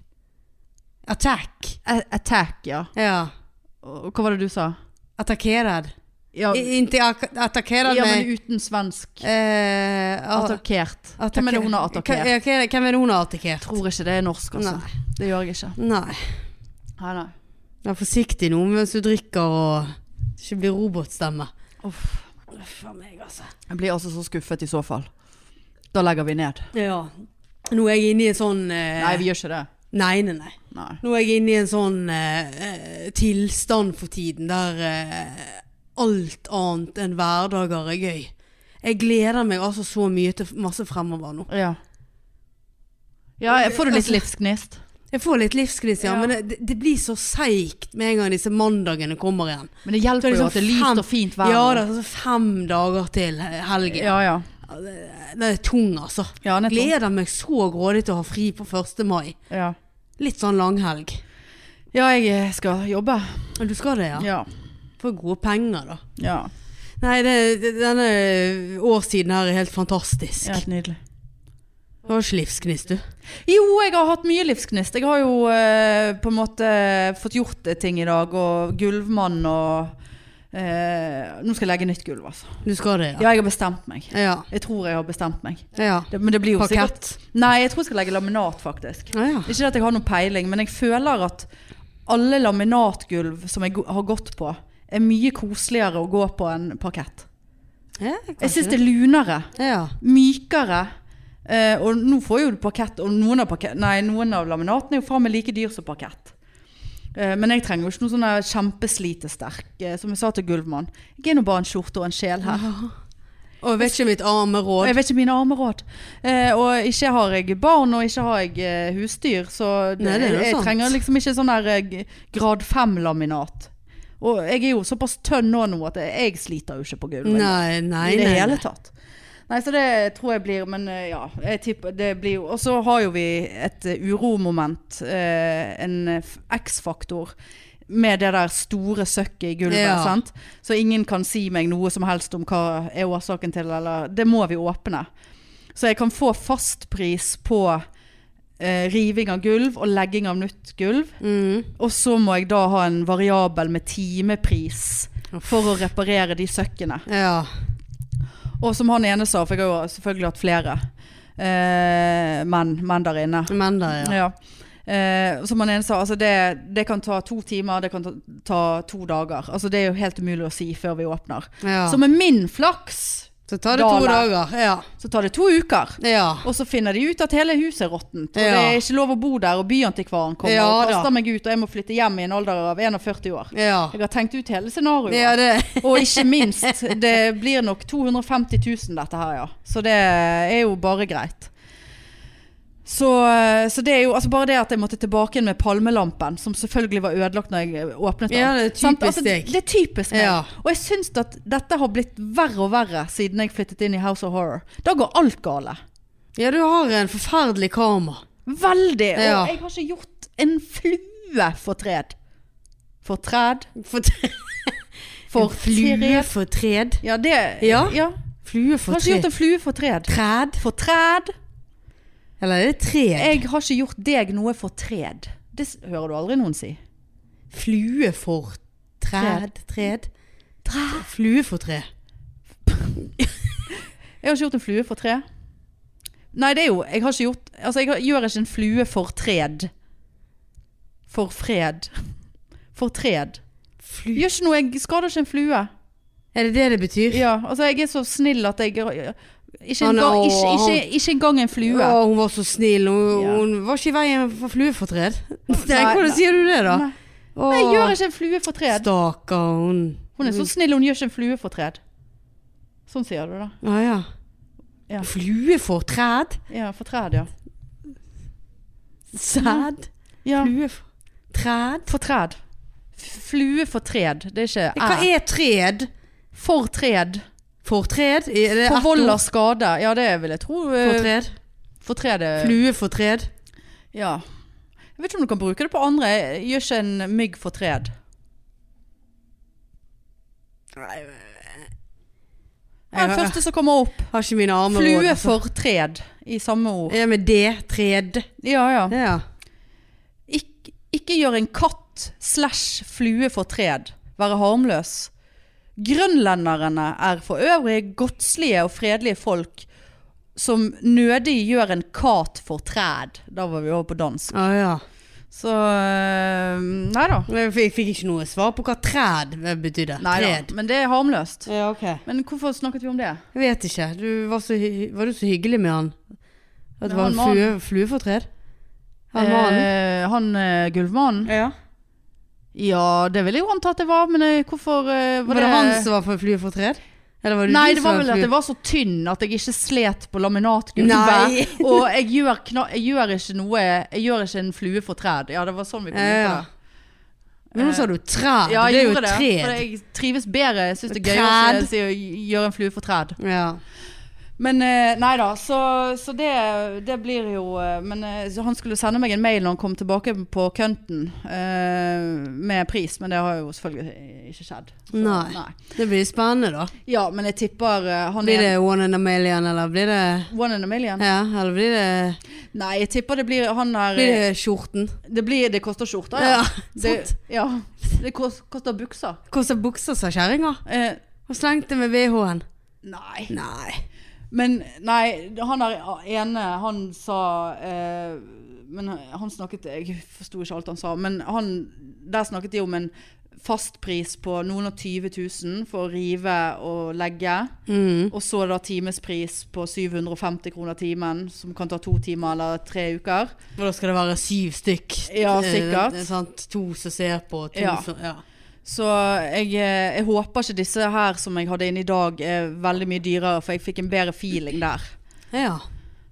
Speaker 1: Attack.
Speaker 3: A- Attack, ja.
Speaker 1: Ja.
Speaker 3: Og hva var det du sa?
Speaker 1: Attackeret.
Speaker 3: Ja,
Speaker 1: I- Inte attackerad
Speaker 3: ja
Speaker 1: meg.
Speaker 3: men uten svensk.
Speaker 1: Eh, a-
Speaker 3: Attakkert.
Speaker 1: attacker-
Speaker 3: Hvem er det hun har attakkert?
Speaker 1: Hva- ja, hva- Hvem er det hun har attakkert?
Speaker 3: Jeg tror ikke det er norsk, altså.
Speaker 1: Nei.
Speaker 3: Det gjør jeg ikke.
Speaker 1: Nei.
Speaker 3: Nei, nei.
Speaker 1: Vær forsiktig nå mens du drikker og ikke blir robotstemme.
Speaker 3: Uff.
Speaker 1: Uff a meg, altså.
Speaker 3: Jeg blir altså så skuffet i så fall. Da legger vi ned.
Speaker 1: Ja. Nå er jeg inne i en sånn eh,
Speaker 3: Nei, vi gjør ikke det.
Speaker 1: nei, nei, nei.
Speaker 3: Nei.
Speaker 1: Nå er jeg inne i en sånn eh, eh, tilstand for tiden der eh, alt annet enn hverdager er gøy. Jeg gleder meg altså så mye til masse fremover nå.
Speaker 3: Ja. Ja, jeg får du litt livsgnist?
Speaker 1: Jeg får litt livsgnist, ja,
Speaker 3: Ja.
Speaker 1: men det, det blir så seigt med en gang disse mandagene kommer igjen.
Speaker 3: Men det
Speaker 1: Så er
Speaker 3: hjelper
Speaker 1: det
Speaker 3: jo
Speaker 1: sånn
Speaker 3: at det er liksom lyst
Speaker 1: fem-
Speaker 3: og fint vær.
Speaker 1: Ja da, altså fem dager til helgen.
Speaker 3: ja, ja.
Speaker 1: Den er tung, altså.
Speaker 3: Ja, nettopp.
Speaker 1: Gleder meg så grådig til å ha fri på 1. mai.
Speaker 3: Ja.
Speaker 1: Litt sånn langhelg.
Speaker 3: ja, jeg eh, skal jobbe.
Speaker 1: Men Du skal det, ja?
Speaker 3: Ja.
Speaker 1: For gode penger, da.
Speaker 3: ja.
Speaker 1: Nei, det, det- denne årstiden her er helt fantastisk.
Speaker 3: Helt nydelig.
Speaker 1: Det var ikke livsgnist, du.
Speaker 3: Jo, jeg har hatt mye livsgnist. Jeg har jo eh, på en måte fått gjort eh, ting i dag, og gulvmann og eh, Nå skal jeg legge nytt gulv, altså.
Speaker 1: Du skal det, ja?
Speaker 3: Ja, jeg har bestemt meg.
Speaker 1: Ja.
Speaker 3: Jeg tror jeg har bestemt meg.
Speaker 1: ja.
Speaker 3: Det, men det blir jo sikkert
Speaker 1: Parkett.
Speaker 3: Nei, jeg tror jeg skal legge laminat, faktisk.
Speaker 1: Ja, ja.
Speaker 3: Ikke at jeg har noen peiling, men jeg føler at alle laminatgulv som jeg go- har gått på, er mye koseligere å gå på enn parkett.
Speaker 1: ja
Speaker 3: Jeg syns det er lunere,
Speaker 1: Ja.
Speaker 3: mykere. Eh, og nå får jo du parkett, og noen av, parkett, nei, noen av laminatene er jo faen meg like dyr som parkett. Eh, men jeg trenger jo ikke noe sånn der kjempeslitesterk, eh, som jeg sa til Gulvmann. Jeg er nå bare en skjorte og en sjel her.
Speaker 1: Og jeg vet ikke mitt arme
Speaker 3: Og
Speaker 1: råd.
Speaker 3: Jeg vet ikke mine armeråd. Eh, og ikke har jeg barn, og ikke har jeg eh, husdyr, så det,
Speaker 1: Nei, det er jo
Speaker 3: jeg, jeg
Speaker 1: sant.
Speaker 3: trenger liksom ikke sånn der eh, g- grad 5-laminat. Og jeg er jo såpass tønn nå nå at jeg, jeg sliter jo ikke på gulvet.
Speaker 1: Nei, nei,
Speaker 3: I det
Speaker 1: nei.
Speaker 3: hele
Speaker 1: nei.
Speaker 3: tatt. Nei, så det tror jeg blir Men eh, ja, jeg tipper det blir jo Og så har jo vi et eh, uromoment, eh, en eh, f- X-faktor, med det der store søkket i gulvet.
Speaker 1: Ja.
Speaker 3: Sant? Så ingen kan si meg noe som helst om hva er årsaken til, eller Det må vi åpne. Så jeg kan få fastpris på eh, riving av gulv og legging av nytt gulv.
Speaker 1: Mm.
Speaker 3: Og så må jeg da ha en variabel med timepris for å reparere de søkkene.
Speaker 1: Ja.
Speaker 3: Og som han ene sa, for jeg har jo selvfølgelig hatt flere eh, menn, menn der inne.
Speaker 1: Men der, ja.
Speaker 3: Ja. Eh, som han ene sa, altså det, det kan ta to timer, det kan ta, ta to dager. Altså det er jo helt umulig å si før vi åpner.
Speaker 1: ja.
Speaker 3: Så med min flaks,
Speaker 1: Så tar det to
Speaker 3: Dale.
Speaker 1: dager. Ja.
Speaker 3: så tar det to uker.
Speaker 1: ja.
Speaker 3: Og så finner de ut at hele huset er råttent. Og
Speaker 1: Ja.
Speaker 3: det er ikke lov å bo der, og byantikvaren kommer
Speaker 1: Ja
Speaker 3: og
Speaker 1: da.
Speaker 3: kaster meg ut, og jeg må flytte hjem i en alder av 41 år.
Speaker 1: Ja.
Speaker 3: Jeg har tenkt ut hele scenarioet.
Speaker 1: <laughs> ja det.
Speaker 3: Og ikke minst, det blir nok 250 000 dette her, ja. Så det er jo bare greit. Så, så det er jo altså bare det at jeg måtte tilbake igjen med palmelampen, som selvfølgelig var ødelagt når jeg åpnet den.
Speaker 1: Ja, det er typisk
Speaker 3: Sant? altså,
Speaker 1: deg.
Speaker 3: Det er typisk meg.
Speaker 1: Ja.
Speaker 3: Og jeg syns at dette har blitt verre og verre siden jeg flyttet inn i House of Horror. Da går alt gale.
Speaker 1: ja, du har en forferdelig karma.
Speaker 3: Veldig. Og
Speaker 1: Ja.
Speaker 3: jeg har ikke gjort en flue fortred. Fortred?
Speaker 1: For
Speaker 3: <laughs> For
Speaker 1: flue for tred.
Speaker 3: Ja, det
Speaker 1: Ja.
Speaker 3: ja.
Speaker 1: Flue
Speaker 3: Jeg
Speaker 1: for
Speaker 3: har ikke gjort
Speaker 1: tred.
Speaker 3: en flue fortred.
Speaker 1: Træd?
Speaker 3: Fortred.
Speaker 1: Eller er det tred?
Speaker 3: Jeg har ikke gjort deg noe fortred. Det s- hører du aldri noen si.
Speaker 1: Flue for træd? Tred? Flue for tre.
Speaker 3: Jeg har ikke gjort en flue fortred. Nei, det er jo Jeg har ikke gjort Altså, jeg har- gjør ikke en flue fortred. <laughs> Forfred. Fortred.
Speaker 1: Flue.
Speaker 3: Gjør ikke noe. Jeg skader ikke en flue.
Speaker 1: Er det det det betyr?
Speaker 3: Ja, altså, jeg er så snill at jeg Ikke
Speaker 1: Han er-
Speaker 3: engang, ikke,
Speaker 1: han-
Speaker 3: ikke, ikke engang en flue.
Speaker 1: Å, hun var så snill. Hun,
Speaker 3: Ja.
Speaker 1: hun var ikke i veien for <laughs> fluefortred. Nei,
Speaker 3: nei.
Speaker 1: hvordan sier du det, da?
Speaker 3: Nei,
Speaker 1: Å,
Speaker 3: jeg gjør ikke en flue fortred.
Speaker 1: Stakkar hun.
Speaker 3: Hun er så snill, hun gjør ikke en flue fortred. Sånn sier du det.
Speaker 1: Ja, ja.
Speaker 3: Ja.
Speaker 1: Fluefortred?
Speaker 3: Ja, fortred, ja.
Speaker 1: Sæd?
Speaker 3: ja.
Speaker 1: Fluetræd?
Speaker 3: Fortred. F- Flue fortred. Det er ikke
Speaker 1: Hva
Speaker 3: æ.
Speaker 1: er tred?
Speaker 3: Fortred.
Speaker 1: Fortred? Er det ett ord?
Speaker 3: Forvolder skade. Ja, det vil jeg tro. eh,
Speaker 1: Fortred?
Speaker 3: Fortred er
Speaker 1: Fluefortred?
Speaker 3: Ja. Jeg vet ikke om du kan bruke det på andre. Jeg Gjør ikke en mygg fortred. Ja, den
Speaker 1: Jeg-
Speaker 3: første som kommer opp.
Speaker 1: Har ikke mine armer råd,
Speaker 3: Flue
Speaker 1: altså. Eh,
Speaker 3: fortred i samme ord.
Speaker 1: Ja, med det. Tred.
Speaker 3: Ja, ja.
Speaker 1: Ja.
Speaker 3: Ik ikke gjør en katt slash flue fortred. Være harmløs. Grønlenderne er for øvrig godslige og fredelige folk som nødig gjør en kat fortred. Da var vi over på dansk.
Speaker 1: Å ja.
Speaker 3: Så øh, Nei da.
Speaker 1: Men Jeg fikk, jeg fikk ikke noe svar på hva træd betydde.
Speaker 3: Nei da.
Speaker 1: tred.
Speaker 3: Men det er harmløst.
Speaker 1: Ja, ok.
Speaker 3: Men hvorfor snakket vi om det?
Speaker 1: Jeg vet ikke. Du var, så, hy- var du så hyggelig med han? At
Speaker 3: Men
Speaker 1: det var
Speaker 3: han
Speaker 1: en
Speaker 3: mannen.
Speaker 1: flue, fluefortred? Han mannen?
Speaker 3: Eh, han eh, gulvmannen?
Speaker 1: Ja.
Speaker 3: Ja, det ville jeg jo anta at det var, men eh, hvorfor eh,
Speaker 1: Var det han som var for fluefortred? Eller var det
Speaker 3: Nei,
Speaker 1: du
Speaker 3: det
Speaker 1: som
Speaker 3: var vel
Speaker 1: flue-
Speaker 3: at jeg var så tynn at jeg ikke slet på
Speaker 1: Nei.
Speaker 3: laminatgulvet. <laughs> og jeg gjør, kna jeg gjør ikke noe Jeg gjør ikke en flue for træd. Ja, det var sånn vi kom inn
Speaker 1: Ja,
Speaker 3: på
Speaker 1: ja.
Speaker 3: det.
Speaker 1: Men nå sa du træd.
Speaker 3: Ja,
Speaker 1: det
Speaker 3: jeg
Speaker 1: er jo
Speaker 3: gjorde det. For
Speaker 1: tred.
Speaker 3: jeg trives bedre. Jeg syns det er gøy
Speaker 1: Træd.
Speaker 3: å si å gjøre en flue for træd.
Speaker 1: Ja.
Speaker 3: Men eh, nei da, så, så det, det blir jo eh, Men eh, så han skulle sende meg en mail når han kom tilbake på kønten eh, med pris, men det har jo selvfølgelig ikke skjedd. Så,
Speaker 1: Nei. Det blir spennende, da.
Speaker 3: Ja, men jeg tipper eh, han
Speaker 1: Blir
Speaker 3: er
Speaker 1: det One in a Million, eller blir det
Speaker 3: one in a million.
Speaker 1: Ja, eller blir det,
Speaker 3: Nei, jeg tipper det blir han er
Speaker 1: blir det skjorten?
Speaker 3: Det, blir, det koster skjorta, ja.
Speaker 1: Ja, sant.
Speaker 3: det, ja. det kos- koster buksa.
Speaker 1: Koster bukser, sa kjerringa.
Speaker 3: Eh,
Speaker 1: Og slengte med VH-en.
Speaker 3: nei.
Speaker 1: Nei.
Speaker 3: Men nei, han der ene, han sa eh, Men han snakket Jeg forsto ikke alt han sa, men han Der snakket de om en fastpris på noen og 20 000 for å rive og legge.
Speaker 1: Mm.
Speaker 3: Og så da timespris på 750 kroner timen, som kan ta to timer eller tre uker.
Speaker 1: For da skal det være syv stykk.
Speaker 3: Ja,
Speaker 1: Eh,
Speaker 3: sikkert.
Speaker 1: sant? To som ser på, to
Speaker 3: Ja.
Speaker 1: som ja.
Speaker 3: Så jeg, eh, jeg håper ikke disse her som jeg hadde inne i dag er veldig mye dyrere, for jeg fikk en bedre feeling der.
Speaker 1: Ja.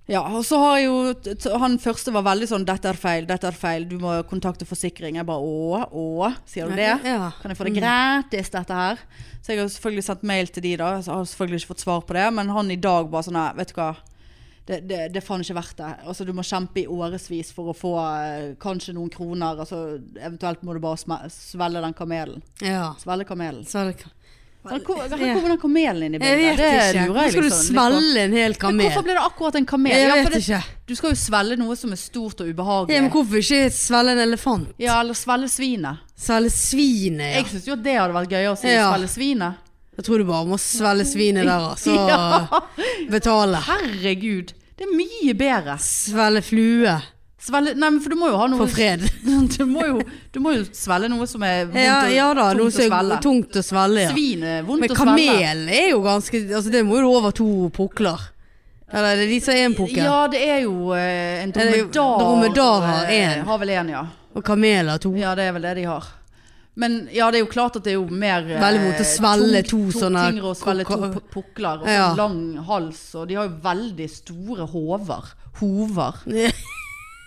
Speaker 3: Ja, og så har jeg jo t- t- Han første var veldig sånn 'Dette er feil, dette er feil, du må kontakte forsikring'. Jeg bare 'Å, å, sier du det?'
Speaker 1: Ja.
Speaker 3: Kan jeg få det gratis, dette her? Så jeg har selvfølgelig sendt mail til de, da. Så har jeg selvfølgelig ikke fått svar på det. Men han i dag bare sånn «Nei, Vet du hva. Det, det, det er faen ikke verdt det. Altså, du må kjempe i årevis for å få eh, kanskje noen kroner. Altså, eventuelt må du bare sme- svelge den kamelen.
Speaker 1: Mm. ja.
Speaker 3: Svelge kamelen.
Speaker 1: Så er det ka-
Speaker 3: Her kommer her kommer den kamelen inn i
Speaker 1: Jeg
Speaker 3: bildet.
Speaker 1: vet ikke. Hvorfor skal du svelge en hel
Speaker 3: liksom Men
Speaker 1: kamel?
Speaker 3: hvorfor ble det akkurat en kamel?
Speaker 1: Jeg
Speaker 3: Ja, for
Speaker 1: vet
Speaker 3: det,
Speaker 1: ikke.
Speaker 3: Du skal jo svelge noe som er stort og
Speaker 1: Ja, men
Speaker 3: ubehagelig.
Speaker 1: hvorfor ikke svelge en elefant?
Speaker 3: Ja, eller svelge svinet.
Speaker 1: Svelge svinet, ja.
Speaker 3: Jeg syns jo at det hadde vært gøyere å si
Speaker 1: Ja.
Speaker 3: svelge svinet.
Speaker 1: Jeg tror du bare må svelge svinet der, altså. og så
Speaker 3: <laughs> Ja.
Speaker 1: betale.
Speaker 3: Herregud, det er mye bedre.
Speaker 1: Svelge flue
Speaker 3: Svelge, nei, men for du må jo ha noe <laughs>
Speaker 1: for fred.
Speaker 3: Du må jo, du må jo svelge noe som er vondt,
Speaker 1: Ja,
Speaker 3: å-
Speaker 1: ja da, noe
Speaker 3: tungt å
Speaker 1: som
Speaker 3: svelge.
Speaker 1: er tungt å svelge, ja.
Speaker 3: Svin er vondt
Speaker 1: Men
Speaker 3: å svelge.
Speaker 1: kamel er jo ganske Altså det må jo over to pukler. Eller er det de som har én pukkel?
Speaker 3: Ja, det er jo eh, en
Speaker 1: Er det-
Speaker 3: dromedar.
Speaker 1: dromedar har
Speaker 3: eh,
Speaker 1: en.
Speaker 3: Har vel en, ja.
Speaker 1: Og kamel har to. <laughs>
Speaker 3: Ja, det er vel det de har. Men ja, det er jo klart at det er jo mer eh,
Speaker 1: Veldig vondt å svelge to sånne
Speaker 3: tyngre å svelge to
Speaker 1: koka-
Speaker 3: pu- pukler og
Speaker 1: Ja.
Speaker 3: sånn lang hals, og de har jo veldig store hover. Hover,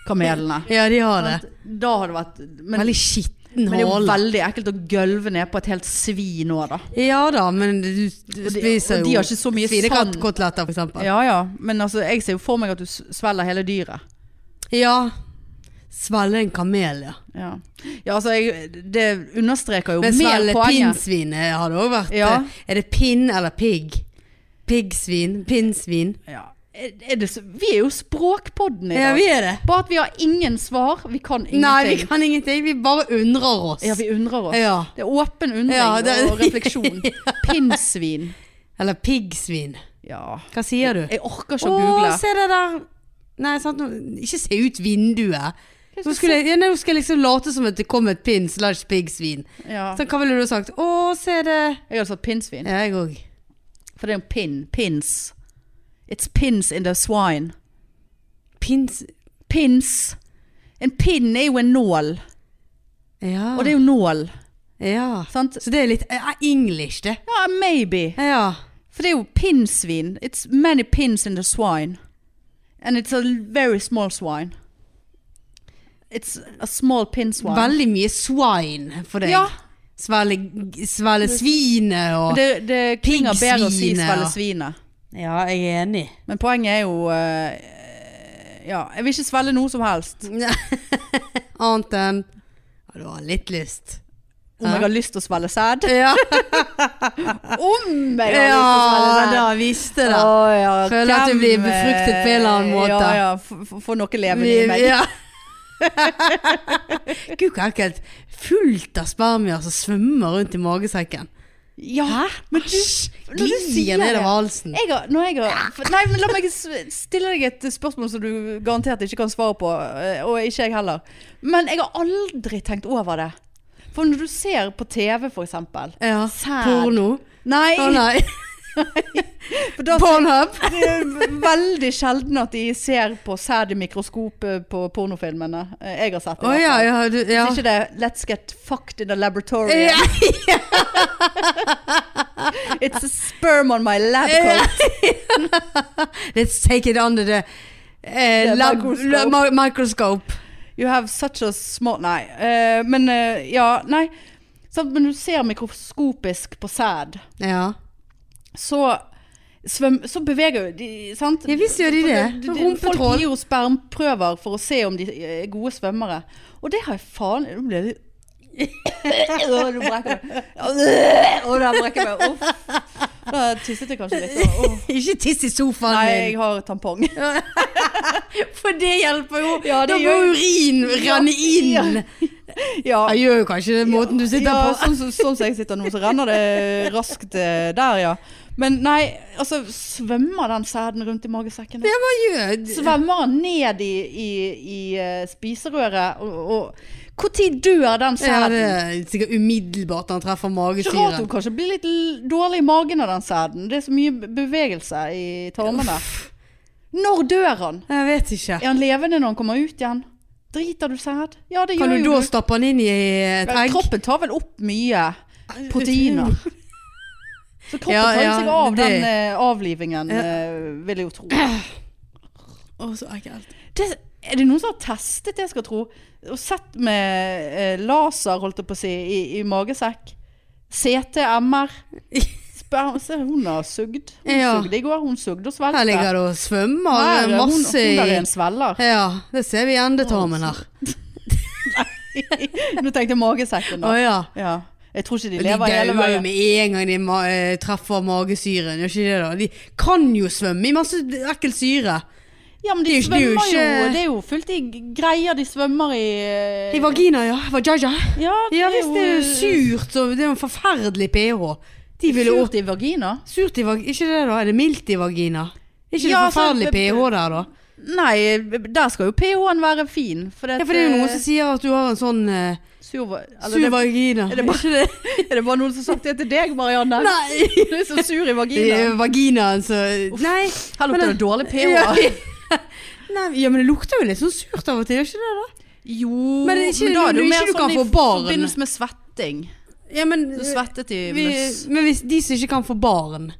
Speaker 3: kamelene.
Speaker 1: Ja, de har det.
Speaker 3: Da har det vært men,
Speaker 1: Veldig skitten
Speaker 3: men det er jo
Speaker 1: hale.
Speaker 3: veldig ekkelt å gølve ned på et helt svin òg, da.
Speaker 1: Ja da, men du du
Speaker 3: Og de-
Speaker 1: spiser
Speaker 3: og
Speaker 1: jo
Speaker 3: de har ikke så mye sand.
Speaker 1: svinekoteletter, for eksempel.
Speaker 3: Ja ja, men altså, jeg ser jo for meg at du s- svelger hele dyret.
Speaker 1: Ja. Svelge en kamel, ja.
Speaker 3: Ja, ja altså, jeg, det understreker jo
Speaker 1: Men
Speaker 3: mer
Speaker 1: svelge
Speaker 3: poenget.
Speaker 1: pinnsvin eh, har det òg vært.
Speaker 3: Ja.
Speaker 1: eh, Er det pinn eller pigg? Piggsvin? Pinnsvin?
Speaker 3: Ja. Er er det, så- vi er jo Språkpodden i dag.
Speaker 1: Ja, vi er det.
Speaker 3: Bare at vi har ingen svar. Vi kan ingenting.
Speaker 1: Nei, vi kan ingenting. Vi bare undrer oss.
Speaker 3: Ja, vi undrer oss.
Speaker 1: Ja.
Speaker 3: Det er åpen undring
Speaker 1: Ja, det-
Speaker 3: og refleksjon.
Speaker 1: <laughs>
Speaker 3: Pinnsvin.
Speaker 1: Eller piggsvin.
Speaker 3: Ja.
Speaker 1: Hva sier du?
Speaker 3: Jeg orker ikke å
Speaker 1: Å,
Speaker 3: google.
Speaker 1: se det der! Nei, sant? nå- ikke se ut vinduet.
Speaker 3: Jeg skal
Speaker 1: Nå skulle jeg, ja, nei, nå skal jeg liksom late som at det kom et pinn slash piggsvin.
Speaker 3: Ja.
Speaker 1: Sånn, hva ville du sagt? Å, se det!
Speaker 3: Jeg hadde sagt pinnsvin.
Speaker 1: Ja, jeg òg.
Speaker 3: For det er jo pin. Pins. It's pins in the swine.
Speaker 1: Pins...
Speaker 3: Pins. En pin er jo en nål.
Speaker 1: Ja.
Speaker 3: Og det er jo nål.
Speaker 1: ja.
Speaker 3: Sant?
Speaker 1: Så det er litt eh, English, det.
Speaker 3: Ja, maybe.
Speaker 1: Ja.
Speaker 3: For det er jo pinnsvin. It's many pins in the swine. And it's a very small swine. It's a small pin swine.
Speaker 1: Veldig mye swine for deg.
Speaker 3: Ja.
Speaker 1: Svelge, svelge svinet og
Speaker 3: Men Det, det klinger bedre å si
Speaker 1: Piggsvinet, ja.
Speaker 3: svelge svinet.
Speaker 1: Ja, jeg er <laughs> enig.
Speaker 3: Men poenget er jo eh, Ja, jeg vil ikke svelge noe som helst.
Speaker 1: Annet enn Ja, du har litt lyst.
Speaker 3: Om jeg har lyst til å svelge sæd.
Speaker 1: <laughs> Ja,
Speaker 3: <laughs> Om jeg har lyst til å
Speaker 1: ja
Speaker 3: svelge sæd! Å, ja,
Speaker 1: da visste det. Føler at du
Speaker 3: hvem,
Speaker 1: blir befruktet på en eller annen
Speaker 3: eh,
Speaker 1: måte.
Speaker 3: Ja, ja. f- f- Få noe levende i
Speaker 1: Vi-
Speaker 3: meg.
Speaker 1: ja. <laughs> Gud, hvor ekkelt. Fullt av spermier som svømmer rundt i magesekken.
Speaker 3: Ja, men du når du
Speaker 1: Glir
Speaker 3: sier
Speaker 1: ned
Speaker 3: det.
Speaker 1: over halsen.
Speaker 3: jeg har, når jeg har, for- nei, men La meg s- stille deg et spørsmål som du garantert ikke kan svare på. eh, Og ikke jeg heller. Men jeg har aldri tenkt over det. For når du ser på TV, for eksempel.
Speaker 1: Ja.
Speaker 3: Sæd.
Speaker 1: Porno.
Speaker 3: Nei,
Speaker 1: Å nei.
Speaker 3: for da
Speaker 1: Pornhub.
Speaker 3: <laughs> det er veldig sjelden at de ser på sæd i mikroskopet på pornofilmene. Eh, Jeg har sett det.
Speaker 1: Å
Speaker 3: i hvert
Speaker 1: ja,
Speaker 3: fall.
Speaker 1: ja, du, ja.
Speaker 3: Hvis ikke det er 'Let's get fucked in the laboratory'.
Speaker 1: Ja.
Speaker 3: It's a sperm on my lab coat.
Speaker 1: Let's take it under the eh,
Speaker 3: The
Speaker 1: lab,
Speaker 3: microscope.
Speaker 1: la- mi- microscope.
Speaker 3: You have such a small Nei. eh, men eh, ja, nei. Sant, men du ser mikroskopisk på sæd,
Speaker 1: Ja.
Speaker 3: så svøm, Så beveger jo de Sant?
Speaker 1: Ja, visst gjør de det.
Speaker 3: For
Speaker 1: Rumpetroll.
Speaker 3: Folk gir jo spermprøver for å se om de er gode svømmere. Og det har jeg faen Nå ble
Speaker 1: <laughs>
Speaker 3: det Å, nå brekker jeg meg. Å, der brekker jeg meg. Uff. Da tisset jeg kanskje litt. og- Åh.
Speaker 1: Ikke tiss i sofaen
Speaker 3: Nei,
Speaker 1: din.
Speaker 3: jeg har tampong.
Speaker 1: For det hjelper jo.
Speaker 3: Ja, det
Speaker 1: da må
Speaker 3: gjør-
Speaker 1: urin renne inn.
Speaker 3: Ja. <laughs> Ja.
Speaker 1: Jeg gjør jo kanskje det måten du sitter
Speaker 3: ja,
Speaker 1: på.
Speaker 3: Sånn som sånn som jeg sitter nå, så renner det raskt eh, der, ja. Men nei, altså svømmer den sæden rundt i magesekken?
Speaker 1: Ja, hva gjør
Speaker 3: Svømmer den ned i, i, i eh, spiserøret? Og, og når dør den
Speaker 1: Ja, det
Speaker 3: sæden?
Speaker 1: er sikkert umiddelbart når han treffer
Speaker 3: Ikke rart hun
Speaker 1: magesyren.
Speaker 3: kanskje blir litt l- dårlig i magen av den sæden. Det er så mye bevegelse i tarmene. Når dør han?
Speaker 1: Jeg vet ikke.
Speaker 3: Er han levende når han kommer ut igjen? Driter du sæd? Ja, det
Speaker 1: Kan
Speaker 3: gjør
Speaker 1: du
Speaker 3: jo
Speaker 1: da stappe den inn i eh, et
Speaker 3: Men
Speaker 1: egg?
Speaker 3: Kroppen tar vel opp mye
Speaker 1: <laughs>
Speaker 3: proteiner. Så kroppen
Speaker 1: Ja,
Speaker 3: tar jo
Speaker 1: ja,
Speaker 3: seg av
Speaker 1: det-
Speaker 3: den eh, avlivingen,
Speaker 1: Ja.
Speaker 3: eh, vil jeg jo tro.
Speaker 1: Å, så ekkelt.
Speaker 3: Det, er det noen som har testet det, skal jeg tro? Og sett med eh, laser, holdt jeg på å si, i, i magesekk? CT, MR? Spør, se, hun har sugd. Hun
Speaker 1: Ja.
Speaker 3: sugde i går, hun sugde og svelgte.
Speaker 1: Her ligger det og svømmer
Speaker 3: Her, hun,
Speaker 1: masse
Speaker 3: hun der
Speaker 1: i
Speaker 3: er en svelger. <laughs>
Speaker 1: Ja, det ser vi i endetarmen her.
Speaker 3: Nå tenkte jeg magesekken,
Speaker 1: Å
Speaker 3: da.
Speaker 1: ja.
Speaker 3: Ja. Jeg tror ikke de
Speaker 1: De
Speaker 3: lever hele
Speaker 1: dauer jo
Speaker 3: veien.
Speaker 1: med en gang de ma eh, treffer magesyren, gjør ikke det da? De kan jo svømme i masse ekkel syre.
Speaker 3: Ja, men de
Speaker 1: Det er jo ikke- det er jo
Speaker 3: svømmer jo,
Speaker 1: ikke-
Speaker 3: det er jo fullt i greier de svømmer i. eh,
Speaker 1: I vagina, ja. Vajaja.
Speaker 3: Ja,
Speaker 1: Ja visst, det er
Speaker 3: eh,
Speaker 1: jo surt, og det er jo en forferdelig ph. De ville
Speaker 3: Surt i vagina?
Speaker 1: Surt i vagina, ikke det da? Er det mildt i vagina? Er ikke
Speaker 3: Ja,
Speaker 1: det forferdelig
Speaker 3: sant, det-
Speaker 1: pH der da?
Speaker 3: Nei, der skal jo pH-en være fin. For
Speaker 1: Ja, for det er jo noen som sier at du har en sånn eh,
Speaker 3: sur, eller
Speaker 1: sur
Speaker 3: Altså,
Speaker 1: <laughs>
Speaker 3: det,
Speaker 1: vagina.
Speaker 3: er, det bare, <laughs> er det bare noen som har sagt det til deg, Marianne?
Speaker 1: <laughs> Nei!
Speaker 3: <laughs> Du er så sur i
Speaker 1: Det er
Speaker 3: vaginaen.
Speaker 1: <laughs> Vaginaen så Nei.
Speaker 3: Her
Speaker 1: men
Speaker 3: lukter det dårlig
Speaker 1: det- <laughs> Ja.
Speaker 3: pH.
Speaker 1: Nei, ja, men det lukter jo litt sånn surt av og til, gjør ikke det da?
Speaker 3: Jo, sånn
Speaker 1: Men det er ikke- du- ikke sånn du kan få barn.
Speaker 3: i forbindelse med svetting.
Speaker 1: Ja, men
Speaker 3: Du svettet i
Speaker 1: vi,
Speaker 3: bluss.
Speaker 1: Men hvis de som ikke kan få barn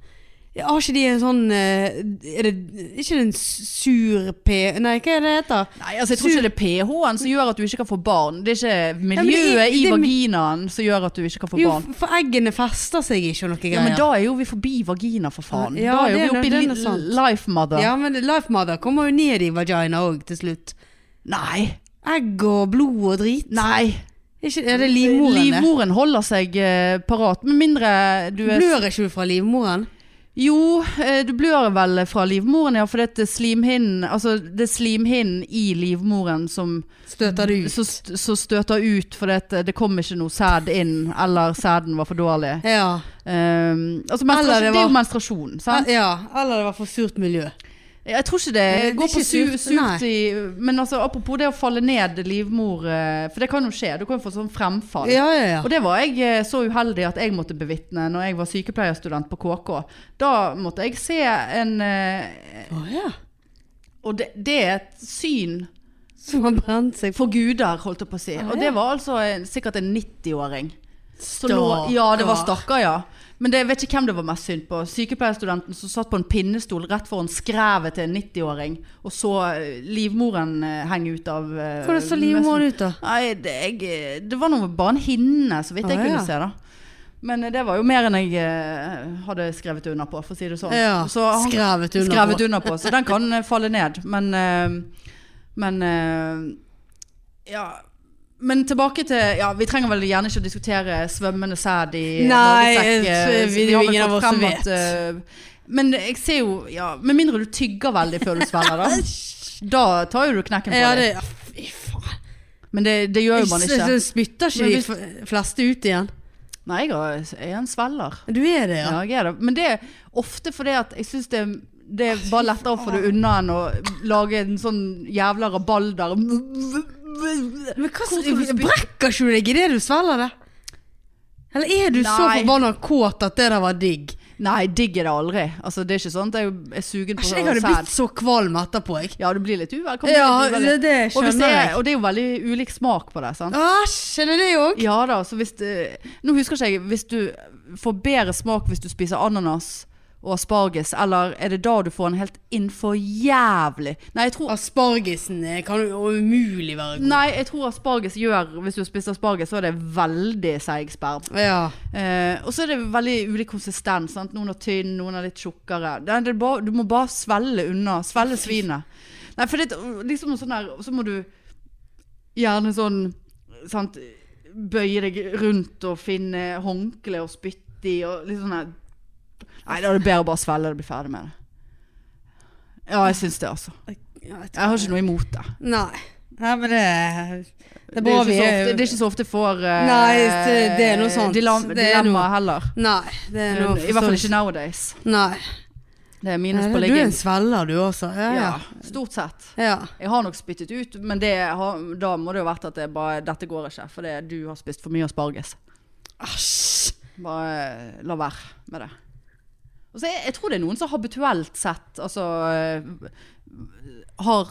Speaker 1: har ikke de en sånn eh, Er det ikke det en sur P... Nei, hva er det det heter?
Speaker 3: Nei, altså jeg tror ikke det er pH-en som gjør at du ikke kan få barn. Det er ikke
Speaker 1: men det-
Speaker 3: miljøet i
Speaker 1: det-
Speaker 3: vaginaen som gjør at du ikke kan få
Speaker 1: Jo,
Speaker 3: barn.
Speaker 1: for eggene fester seg ikke og noe greier.
Speaker 3: Ja, men da er jo vi forbi vagina, for faen.
Speaker 1: Ja,
Speaker 3: da er jo
Speaker 1: det
Speaker 3: vi
Speaker 1: er
Speaker 3: oppe
Speaker 1: nå-
Speaker 3: i
Speaker 1: det er nå sant.
Speaker 3: li- life mother.
Speaker 1: Ja, men Life Mother kommer jo ned i vagina òg til slutt.
Speaker 3: Nei.
Speaker 1: Egg og blod og drit.
Speaker 3: Nei.
Speaker 1: Ikke, er det livmoren? det?
Speaker 3: Livmoren holder seg eh, parat, med mindre du er
Speaker 1: Blør ikke du fra livmoren?
Speaker 3: Jo, eh, du blør vel fra livmoren, ja, for det er slimhinnen Altså, det er slimhinnen i livmoren som
Speaker 1: Støter du ut?
Speaker 3: som st- som støter ut fordi det, det kom ikke noe sæd inn, eller sæden var for dårlig.
Speaker 1: Ja.
Speaker 3: Um, altså,
Speaker 1: Eller
Speaker 3: menstruasjon,
Speaker 1: det
Speaker 3: det er
Speaker 1: var-
Speaker 3: jo menstruasjon, sant?
Speaker 1: ja. Eller det var for surt miljø.
Speaker 3: Jeg tror ikke det.
Speaker 1: det er
Speaker 3: Gå
Speaker 1: ikke
Speaker 3: på su
Speaker 1: surt,
Speaker 3: surt i Men altså, apropos det å falle ned livmor eh, For det kan jo skje. Du kan jo få sånn fremfall.
Speaker 1: Ja, ja, ja.
Speaker 3: Og det var jeg eh, så uheldig at jeg måtte bevitne når jeg var sykepleierstudent på KK. Da måtte jeg se en eh,
Speaker 1: Å, ja.
Speaker 3: Og det, det er et syn
Speaker 1: Som har brent seg
Speaker 3: for guder, holdt jeg på å si. Og
Speaker 1: ja.
Speaker 3: det var altså en, sikkert en 90-åring. som
Speaker 1: Stakkar.
Speaker 3: lå- Ja, det var stakkar, ja. Men det, jeg vet ikke hvem det var mest synd på. Sykepleierstudenten som satt på en pinnestol rett foran skrevet til en 90-åring, og så eh, livmoren eh, henge ut av eh,
Speaker 1: Hvordan så livmoren ut, da?
Speaker 3: Nei, det, jeg, det var noe, bare en hinne, så vidt jeg
Speaker 1: Å, ja.
Speaker 3: kunne se da. Men eh, det var jo mer enn jeg eh, hadde skrevet under på, for å si det sånn.
Speaker 1: Ja,
Speaker 3: så, han-
Speaker 1: skrevet under
Speaker 3: skrevet
Speaker 1: på.
Speaker 3: under på. Så den kan eh, falle ned. Men, eh, men eh, ja. Men tilbake til ja, Vi trenger vel gjerne ikke å diskutere svømmende sæd i eh,
Speaker 1: Nei,
Speaker 3: magesekk. eh,
Speaker 1: eh, vi-
Speaker 3: har vel
Speaker 1: ingen av
Speaker 3: fått
Speaker 1: oss som
Speaker 3: frem
Speaker 1: vet.
Speaker 3: eh, men jeg ser jo ja, Med mindre du tygger veldig før du svelger,
Speaker 1: <laughs>
Speaker 3: da. Da tar jo du knekken på
Speaker 1: Ja,
Speaker 3: det.
Speaker 1: det Fy faen.
Speaker 3: Men det, det gjør jo man ikke.
Speaker 1: Det spytter ikke
Speaker 3: Men
Speaker 1: de
Speaker 3: hvis-
Speaker 1: f- fleste ut igjen.
Speaker 3: Nei, jeg er- jeg er en svelger.
Speaker 1: Du er det, ja.
Speaker 3: Ja, jeg er det. Men det er ofte fordi at jeg syns det, er- det er bare lettere å få det unna enn å lage en sånn jævla rabalder.
Speaker 1: Men hva
Speaker 3: Hvor skal du
Speaker 1: så,
Speaker 3: spy-
Speaker 1: brekker ikke du deg i det du svelger det? Eller er du så
Speaker 3: Nei.
Speaker 1: forbanna kåt at det der var digg?
Speaker 3: Nei, digg er det aldri. Altså, det er ikke sånn at jeg er sugen på
Speaker 1: Æsj, jeg hadde
Speaker 3: sæd.
Speaker 1: blitt så kvalm etterpå, jeg.
Speaker 3: Ja, du blir litt uvel. kan bli
Speaker 1: Ja,
Speaker 3: litt
Speaker 1: det,
Speaker 3: uvel.
Speaker 1: det
Speaker 3: Og, hvis det
Speaker 1: skjønner
Speaker 3: er,
Speaker 1: jeg.
Speaker 3: og det er jo veldig ulik smak på det. sant?
Speaker 1: Æsj, er det det òg?
Speaker 3: Ja da, så hvis det, Nå husker ikke jeg Hvis du får bedre smak hvis du spiser ananas og asparges, eller er det da du får en helt innfor jævlig Nei, jeg tror
Speaker 1: Aspargesen eh, kan jo umulig være god.
Speaker 3: Nei, jeg tror asparges gjør Hvis du spiser asparges, så er det veldig seig sperm.
Speaker 1: Ja.
Speaker 3: Eh, og så er det veldig ulik konsistens. Sant? Noen er tynn, noen er litt tjukkere. Det er, det er bare, du må bare svelle unna. Svelle svinet. Nei, for det er liksom sånn der Så må du gjerne sånn sant, Bøye deg rundt og finne håndkle og spytte i og litt sånn der Nei, da er det bedre å bare svelle og bli ferdig med det. Ja, jeg syns det, altså.
Speaker 1: Ja, jeg
Speaker 3: Jeg har ikke noe imot det.
Speaker 1: tror- Nei. Nei, men det Det er
Speaker 3: Det
Speaker 1: bra
Speaker 3: er,
Speaker 1: vi
Speaker 3: ikke så
Speaker 1: er
Speaker 3: ofte, det er ikke så ofte får uh,
Speaker 1: Nei, det- det er noe sant. Det er
Speaker 3: dilemma
Speaker 1: noe-
Speaker 3: heller.
Speaker 1: Nei. Det er noe
Speaker 3: I hvert fall ikke nowadays.
Speaker 1: Nei.
Speaker 3: Det er minus
Speaker 1: Nei,
Speaker 3: på
Speaker 1: Du er en
Speaker 3: leggen.
Speaker 1: svelger du også. Ja,
Speaker 3: Ja,
Speaker 1: ja.
Speaker 3: stort sett.
Speaker 1: ja.
Speaker 3: Jeg har nok spyttet ut, men det har, da må det jo ha vært at det bare, dette går ikke. Fordi du har spist for mye asparges.
Speaker 1: Æsj.
Speaker 3: Bare la være med det. Og så jeg, jeg tror det er noen som habituelt sett altså, øh, har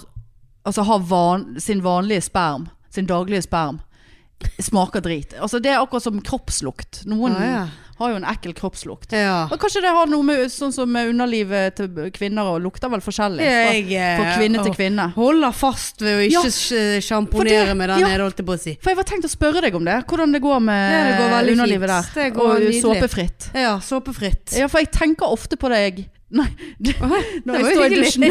Speaker 3: altså har van, sin vanlige sperm, sin daglige sperm, smaker drit. Altså det er akkurat som kroppslukt. Noen
Speaker 1: Ah, ja.
Speaker 3: har jo en ekkel kroppslukt.
Speaker 1: Ja.
Speaker 3: Og kanskje det har noe med sånn som med underlivet til kvinner og lukter vel forskjellig fra,
Speaker 1: Jeg, eh,
Speaker 3: fra kvinne til
Speaker 1: å,
Speaker 3: kvinne.
Speaker 1: Holder fast ved å ikke
Speaker 3: Ja.
Speaker 1: sj-
Speaker 3: For
Speaker 1: sjamponere
Speaker 3: det-
Speaker 1: meg der
Speaker 3: ja.
Speaker 1: nede, holdt jeg på å si.
Speaker 3: For jeg var tenkt å spørre deg om det. Hvordan det går med
Speaker 1: Ja, det går veldig
Speaker 3: underlivet
Speaker 1: fint.
Speaker 3: der.
Speaker 1: Det går
Speaker 3: og
Speaker 1: nydelig.
Speaker 3: såpefritt.
Speaker 1: Ja, såpefritt.
Speaker 3: Ja, for jeg tenker ofte på deg Nei, det,
Speaker 1: <laughs>
Speaker 3: når
Speaker 1: det
Speaker 3: jeg
Speaker 1: var
Speaker 3: står i
Speaker 1: hyggelig.
Speaker 3: dusjen.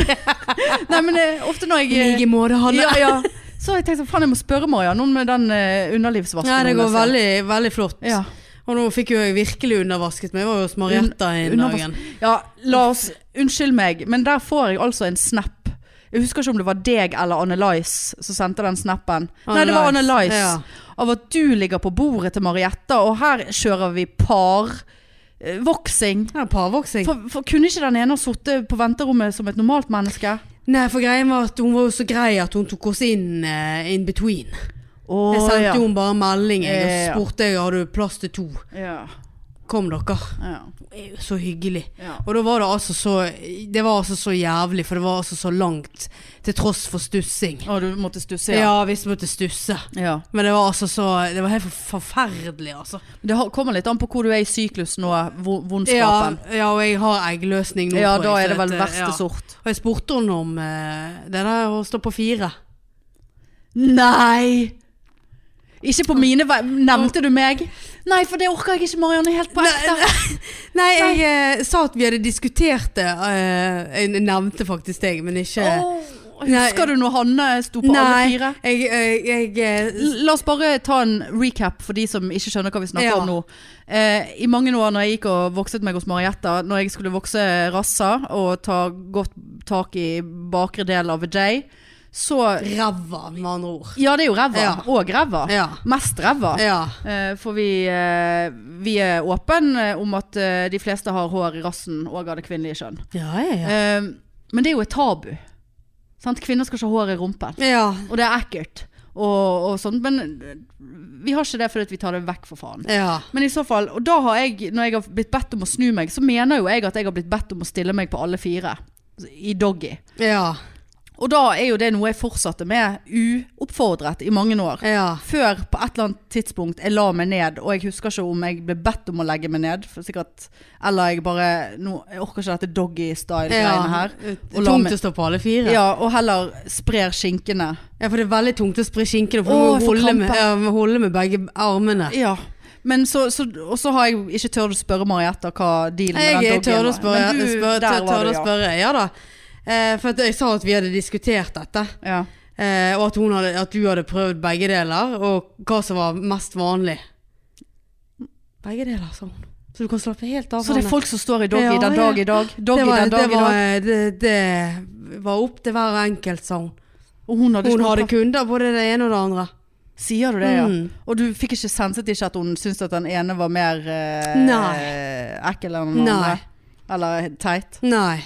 Speaker 1: <laughs>
Speaker 3: Nei, men eh, ofte når
Speaker 1: I
Speaker 3: jeg
Speaker 1: like måte, Hanne.
Speaker 3: Ja,
Speaker 1: <laughs>
Speaker 3: ja. Så har jeg tenkt sånn, faen jeg må spørre Maria, noen med den eh, underlivsvasken.
Speaker 1: Ja, det går
Speaker 3: hennes, ja.
Speaker 1: veldig, veldig flott.
Speaker 3: Ja.
Speaker 1: Og nå fikk jo jeg virkelig undervasket meg. Jeg var jo hos Marietta
Speaker 3: Un-
Speaker 1: en
Speaker 3: undervask-
Speaker 1: dagen.
Speaker 3: ja, la oss Unnskyld meg, men der får jeg altså en snap. Jeg husker ikke om det var deg eller Annelise som sendte den snappen. Nei, det var
Speaker 1: Annelise,
Speaker 3: Annelise.
Speaker 1: ja.
Speaker 3: Av at du ligger på bordet til Marietta, og her kjører vi parvoksing.
Speaker 1: Ja, parvoksing.
Speaker 3: For, for kunne ikke den ene ha sittet på venterommet som et normalt menneske?
Speaker 1: Nei, for greien var at hun var jo så grei at hun tok oss inn eh, in between.
Speaker 3: Oh,
Speaker 1: Jeg sendte jo henne bare melding jeg, og
Speaker 3: Ja, ja.
Speaker 1: spurte jeg, har du plass til to.
Speaker 3: Ja,
Speaker 1: Kom dere.
Speaker 3: ja,
Speaker 1: Så hyggelig.
Speaker 3: ja.
Speaker 1: Og da var det altså så Det var altså så jævlig, for det var altså så langt. Til tross for stussing.
Speaker 3: Å, du måtte stusse, ja.
Speaker 1: Ja, vi måtte stusse.
Speaker 3: ja.
Speaker 1: Men det var altså så Det var helt for- forferdelig, altså.
Speaker 3: Det har- kommer litt an på hvor du er i syklusen og hvor-
Speaker 1: Ja,
Speaker 3: vondskapen.
Speaker 1: ja, og jeg har eggløsning nå.
Speaker 3: Ja,
Speaker 1: tror
Speaker 3: da er
Speaker 1: jeg, så
Speaker 3: det vel
Speaker 1: at, eh,
Speaker 3: verste
Speaker 1: ja.
Speaker 3: sort.
Speaker 1: Og jeg spurte henne om eh, det der å stå på fire.
Speaker 3: Nei! Ikke på mine vei. Nevnte du meg? Nei, for det orker jeg ikke, Marianne. Helt på ekte.
Speaker 1: Nei, jeg eh, sa at vi hadde diskutert det. eh, jeg nevnte faktisk deg, men ikke
Speaker 3: Åh, Husker du når Hanne sto på alle
Speaker 1: Nei,
Speaker 3: fire?
Speaker 1: jeg, jeg, jeg eh,
Speaker 3: L- La oss bare ta en recap for de som ikke skjønner hva vi snakker
Speaker 1: Ja.
Speaker 3: om nå. Eh, I mange år når jeg gikk og vokset meg hos Marietta, når jeg skulle vokse rassa og ta godt tak i bakre del av Vijay, så
Speaker 1: Ræva, med andre ord.
Speaker 3: Ja, det er jo ræva.
Speaker 1: Ja.
Speaker 3: Og ræva.
Speaker 1: Ja.
Speaker 3: Mest ræva.
Speaker 1: ja.
Speaker 3: Eh, For vi, eh, vi er åpne om at eh, de fleste har hår i rassen og av det kvinnelige kjønn.
Speaker 1: Ja, ja, ja.
Speaker 3: Eh, Men det er jo et tabu. Sant? Kvinner skal ikke ha hår i rumpen.
Speaker 1: ja.
Speaker 3: Og det er ekkelt. Og, og sånt. Men eh, vi har ikke det fordi at vi tar det vekk, for faen.
Speaker 1: Ja.
Speaker 3: Men i så fall, og da har jeg, når jeg har blitt bedt om å snu meg, så mener jo jeg at jeg har blitt bedt om å stille meg på alle fire. I doggy.
Speaker 1: Ja.
Speaker 3: Og da er jo det noe jeg fortsatte med uoppfordret i mange år.
Speaker 1: ja.
Speaker 3: Før på et eller annet tidspunkt jeg la meg ned, og jeg husker ikke om jeg ble bedt om å legge meg ned, for sikkert, eller jeg bare nå, Jeg orker ikke dette
Speaker 1: Ja.
Speaker 3: doggy-style-greiene her. Og la
Speaker 1: Tungt
Speaker 3: meg-
Speaker 1: å stå på alle fire.
Speaker 3: Ja, og heller sprer skinkene.
Speaker 1: Ja, for det er veldig tungt å spre skinkene. For
Speaker 3: Åh,
Speaker 1: du må
Speaker 3: jeg får
Speaker 1: holde med,
Speaker 3: krampe.
Speaker 1: ja, må holde med begge armene.
Speaker 3: Ja. Men så, så, og så har jeg ikke tørt å spørre Marietta hva dealen med
Speaker 1: Jeg,
Speaker 3: den
Speaker 1: jeg
Speaker 3: doggyen
Speaker 1: tør å
Speaker 3: var.
Speaker 1: spørre.
Speaker 3: Men du,
Speaker 1: spør,
Speaker 3: der
Speaker 1: tør,
Speaker 3: var
Speaker 1: tør
Speaker 3: du,
Speaker 1: å
Speaker 3: ja.
Speaker 1: spørre. Ja da. Eh, for at jeg sa at vi hadde diskutert dette.
Speaker 3: Ja.
Speaker 1: Eh, og at, hun hadde, at du hadde prøvd begge deler, og hva som var mest vanlig. Begge deler, sa hun. Så du kan slappe helt av.
Speaker 3: Så det er
Speaker 1: Hanne.
Speaker 3: folk som står i doggy
Speaker 1: Ja,
Speaker 3: den
Speaker 1: ja.
Speaker 3: dag i dag. Doggy
Speaker 1: det var,
Speaker 3: den
Speaker 1: det,
Speaker 3: dag i
Speaker 1: var,
Speaker 3: dag.
Speaker 1: det, det var opp til hver enkelt, sa hun.
Speaker 3: Og hun hadde
Speaker 1: Hun
Speaker 3: ikke
Speaker 1: hadde
Speaker 3: noe
Speaker 1: kunder, både det ene og det andre.
Speaker 3: Sier du det, ja?
Speaker 1: Mm.
Speaker 3: Og du fikk ikke senset ikke at hun syntes at den ene var mer eh,
Speaker 1: Nei.
Speaker 3: ekkel enn den
Speaker 1: Nei.
Speaker 3: andre? Eller teit?
Speaker 1: Nei.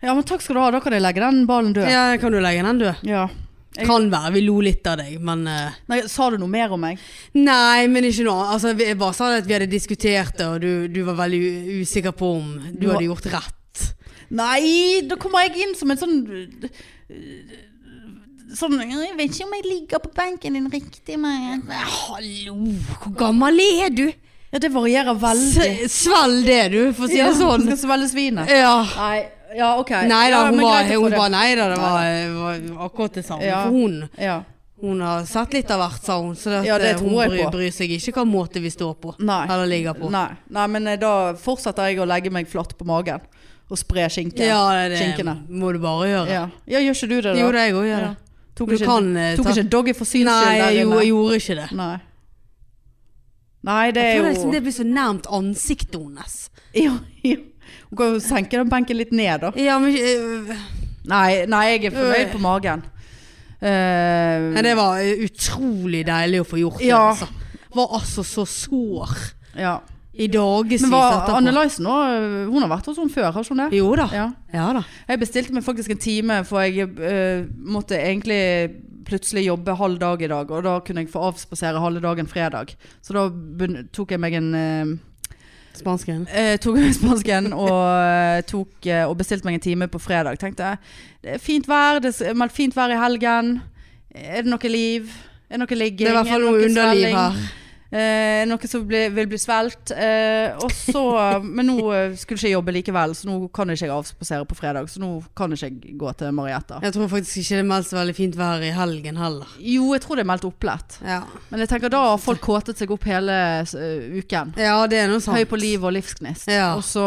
Speaker 3: Ja, men takk skal du ha. Da kan jeg legge den ballen død.
Speaker 1: Ja, kan du legge den død?
Speaker 3: Ja. Jeg-
Speaker 1: Kan være. Vi lo litt av deg, men eh,
Speaker 3: Nei, sa du noe mer om meg?
Speaker 1: Nei, men ikke nå. Altså, vi- jeg bare sa det at vi hadde diskutert det, og du, du var veldig u- usikker på om du,
Speaker 3: Du har-
Speaker 1: hadde gjort rett.
Speaker 3: Nei, da kommer jeg inn som en sånn Sånn Jeg vet ikke om jeg ligger på benken din riktig, men
Speaker 1: Hallo, hvor gammel er du?
Speaker 3: Ja, det varierer veldig.
Speaker 1: <laughs> S- Svelg det, du, for å si det
Speaker 3: sånn.
Speaker 1: sånn.
Speaker 3: Skal svelge svinet.
Speaker 1: Ja.
Speaker 3: Nei, ja, OK.
Speaker 1: Nei da,
Speaker 3: ja,
Speaker 1: hun,
Speaker 3: men
Speaker 1: var,
Speaker 3: greit å få
Speaker 1: hun
Speaker 3: det.
Speaker 1: bare Nei da, det var, var akkurat det samme.
Speaker 3: Ja.
Speaker 1: For hun,
Speaker 3: Ja.
Speaker 1: hun har sett litt av hvert, sa hun. Så det, at,
Speaker 3: Ja, det
Speaker 1: eh,
Speaker 3: tror
Speaker 1: hun
Speaker 3: jeg
Speaker 1: bryr,
Speaker 3: på.
Speaker 1: bryr seg ikke hvilken måte vi står på.
Speaker 3: Nei.
Speaker 1: Eller ligger på.
Speaker 3: Nei. Nei, men eh, da fortsetter jeg å legge meg flatt på magen og spre skinken.
Speaker 1: Ja, det, det
Speaker 3: skinkene.
Speaker 1: må du bare gjøre.
Speaker 3: Ja. ja, gjør ikke du det, da?
Speaker 1: Jo, det er jeg òg.
Speaker 3: Ja.
Speaker 1: Ja.
Speaker 3: Tok
Speaker 1: Du
Speaker 3: ikke,
Speaker 1: kan, eh,
Speaker 3: tok
Speaker 1: ta-
Speaker 3: ikke doggy for syns
Speaker 1: Nei,
Speaker 3: skyld der
Speaker 1: jeg,
Speaker 3: inne?
Speaker 1: gjorde- jeg gjorde ikke det.
Speaker 3: Nei. Nei, det
Speaker 1: Jeg
Speaker 3: er
Speaker 1: føler
Speaker 3: jo
Speaker 1: liksom det blir så nærmt ansiktet hennes.
Speaker 3: <laughs> Jo, jo. Hun kan jo senke den benken litt ned, da.
Speaker 1: Ja, men øh,
Speaker 3: Nei, nei jeg er fornøyd på magen. Eh,
Speaker 1: Nei, det var eh, utrolig deilig å få gjort det.
Speaker 3: Ja.
Speaker 1: Altså. Var altså så sår
Speaker 3: ja.
Speaker 1: i dagevis
Speaker 3: Men var
Speaker 1: etterpå.
Speaker 3: Annelise nå Hun har vært hos henne før, har ikke hun det?
Speaker 1: Jo da. Ja.
Speaker 3: Ja.
Speaker 1: da.
Speaker 3: Jeg bestilte meg faktisk en time, for jeg eh, måtte egentlig plutselig jobbe halv dag i dag, og da kunne jeg få avspasere halve dagen fredag. Så da begyn- tok jeg meg en eh,
Speaker 1: Spansken.
Speaker 3: Eh, tok jeg
Speaker 1: <laughs>
Speaker 3: spansken og, eh, tok, eh, og bestilte meg en time på fredag. Tenkte det er fint vær, det er meldt fint vær i helgen. Er det noe liv? Er det noe ligging?
Speaker 1: Det er i hvert fall noe underliv her.
Speaker 3: Eh, noe som blir- vil bli svelgt. Eh, og
Speaker 1: <laughs>
Speaker 3: så, men nå eh, skulle ikke jeg jobbe likevel, så nå kan ikke jeg avspasere på fredag. Så nå kan ikke jeg gå til Marietta.
Speaker 1: Jeg tror faktisk ikke det meldes veldig fint vær i helgen heller.
Speaker 3: Jo, jeg tror det er meldt opplett.
Speaker 1: Ja,
Speaker 3: Men jeg tenker da har folk kåtet seg opp hele eh, uken.
Speaker 1: ja det er noe sant.
Speaker 3: Høy på liv og livsgnist.
Speaker 1: Ja.
Speaker 3: Og så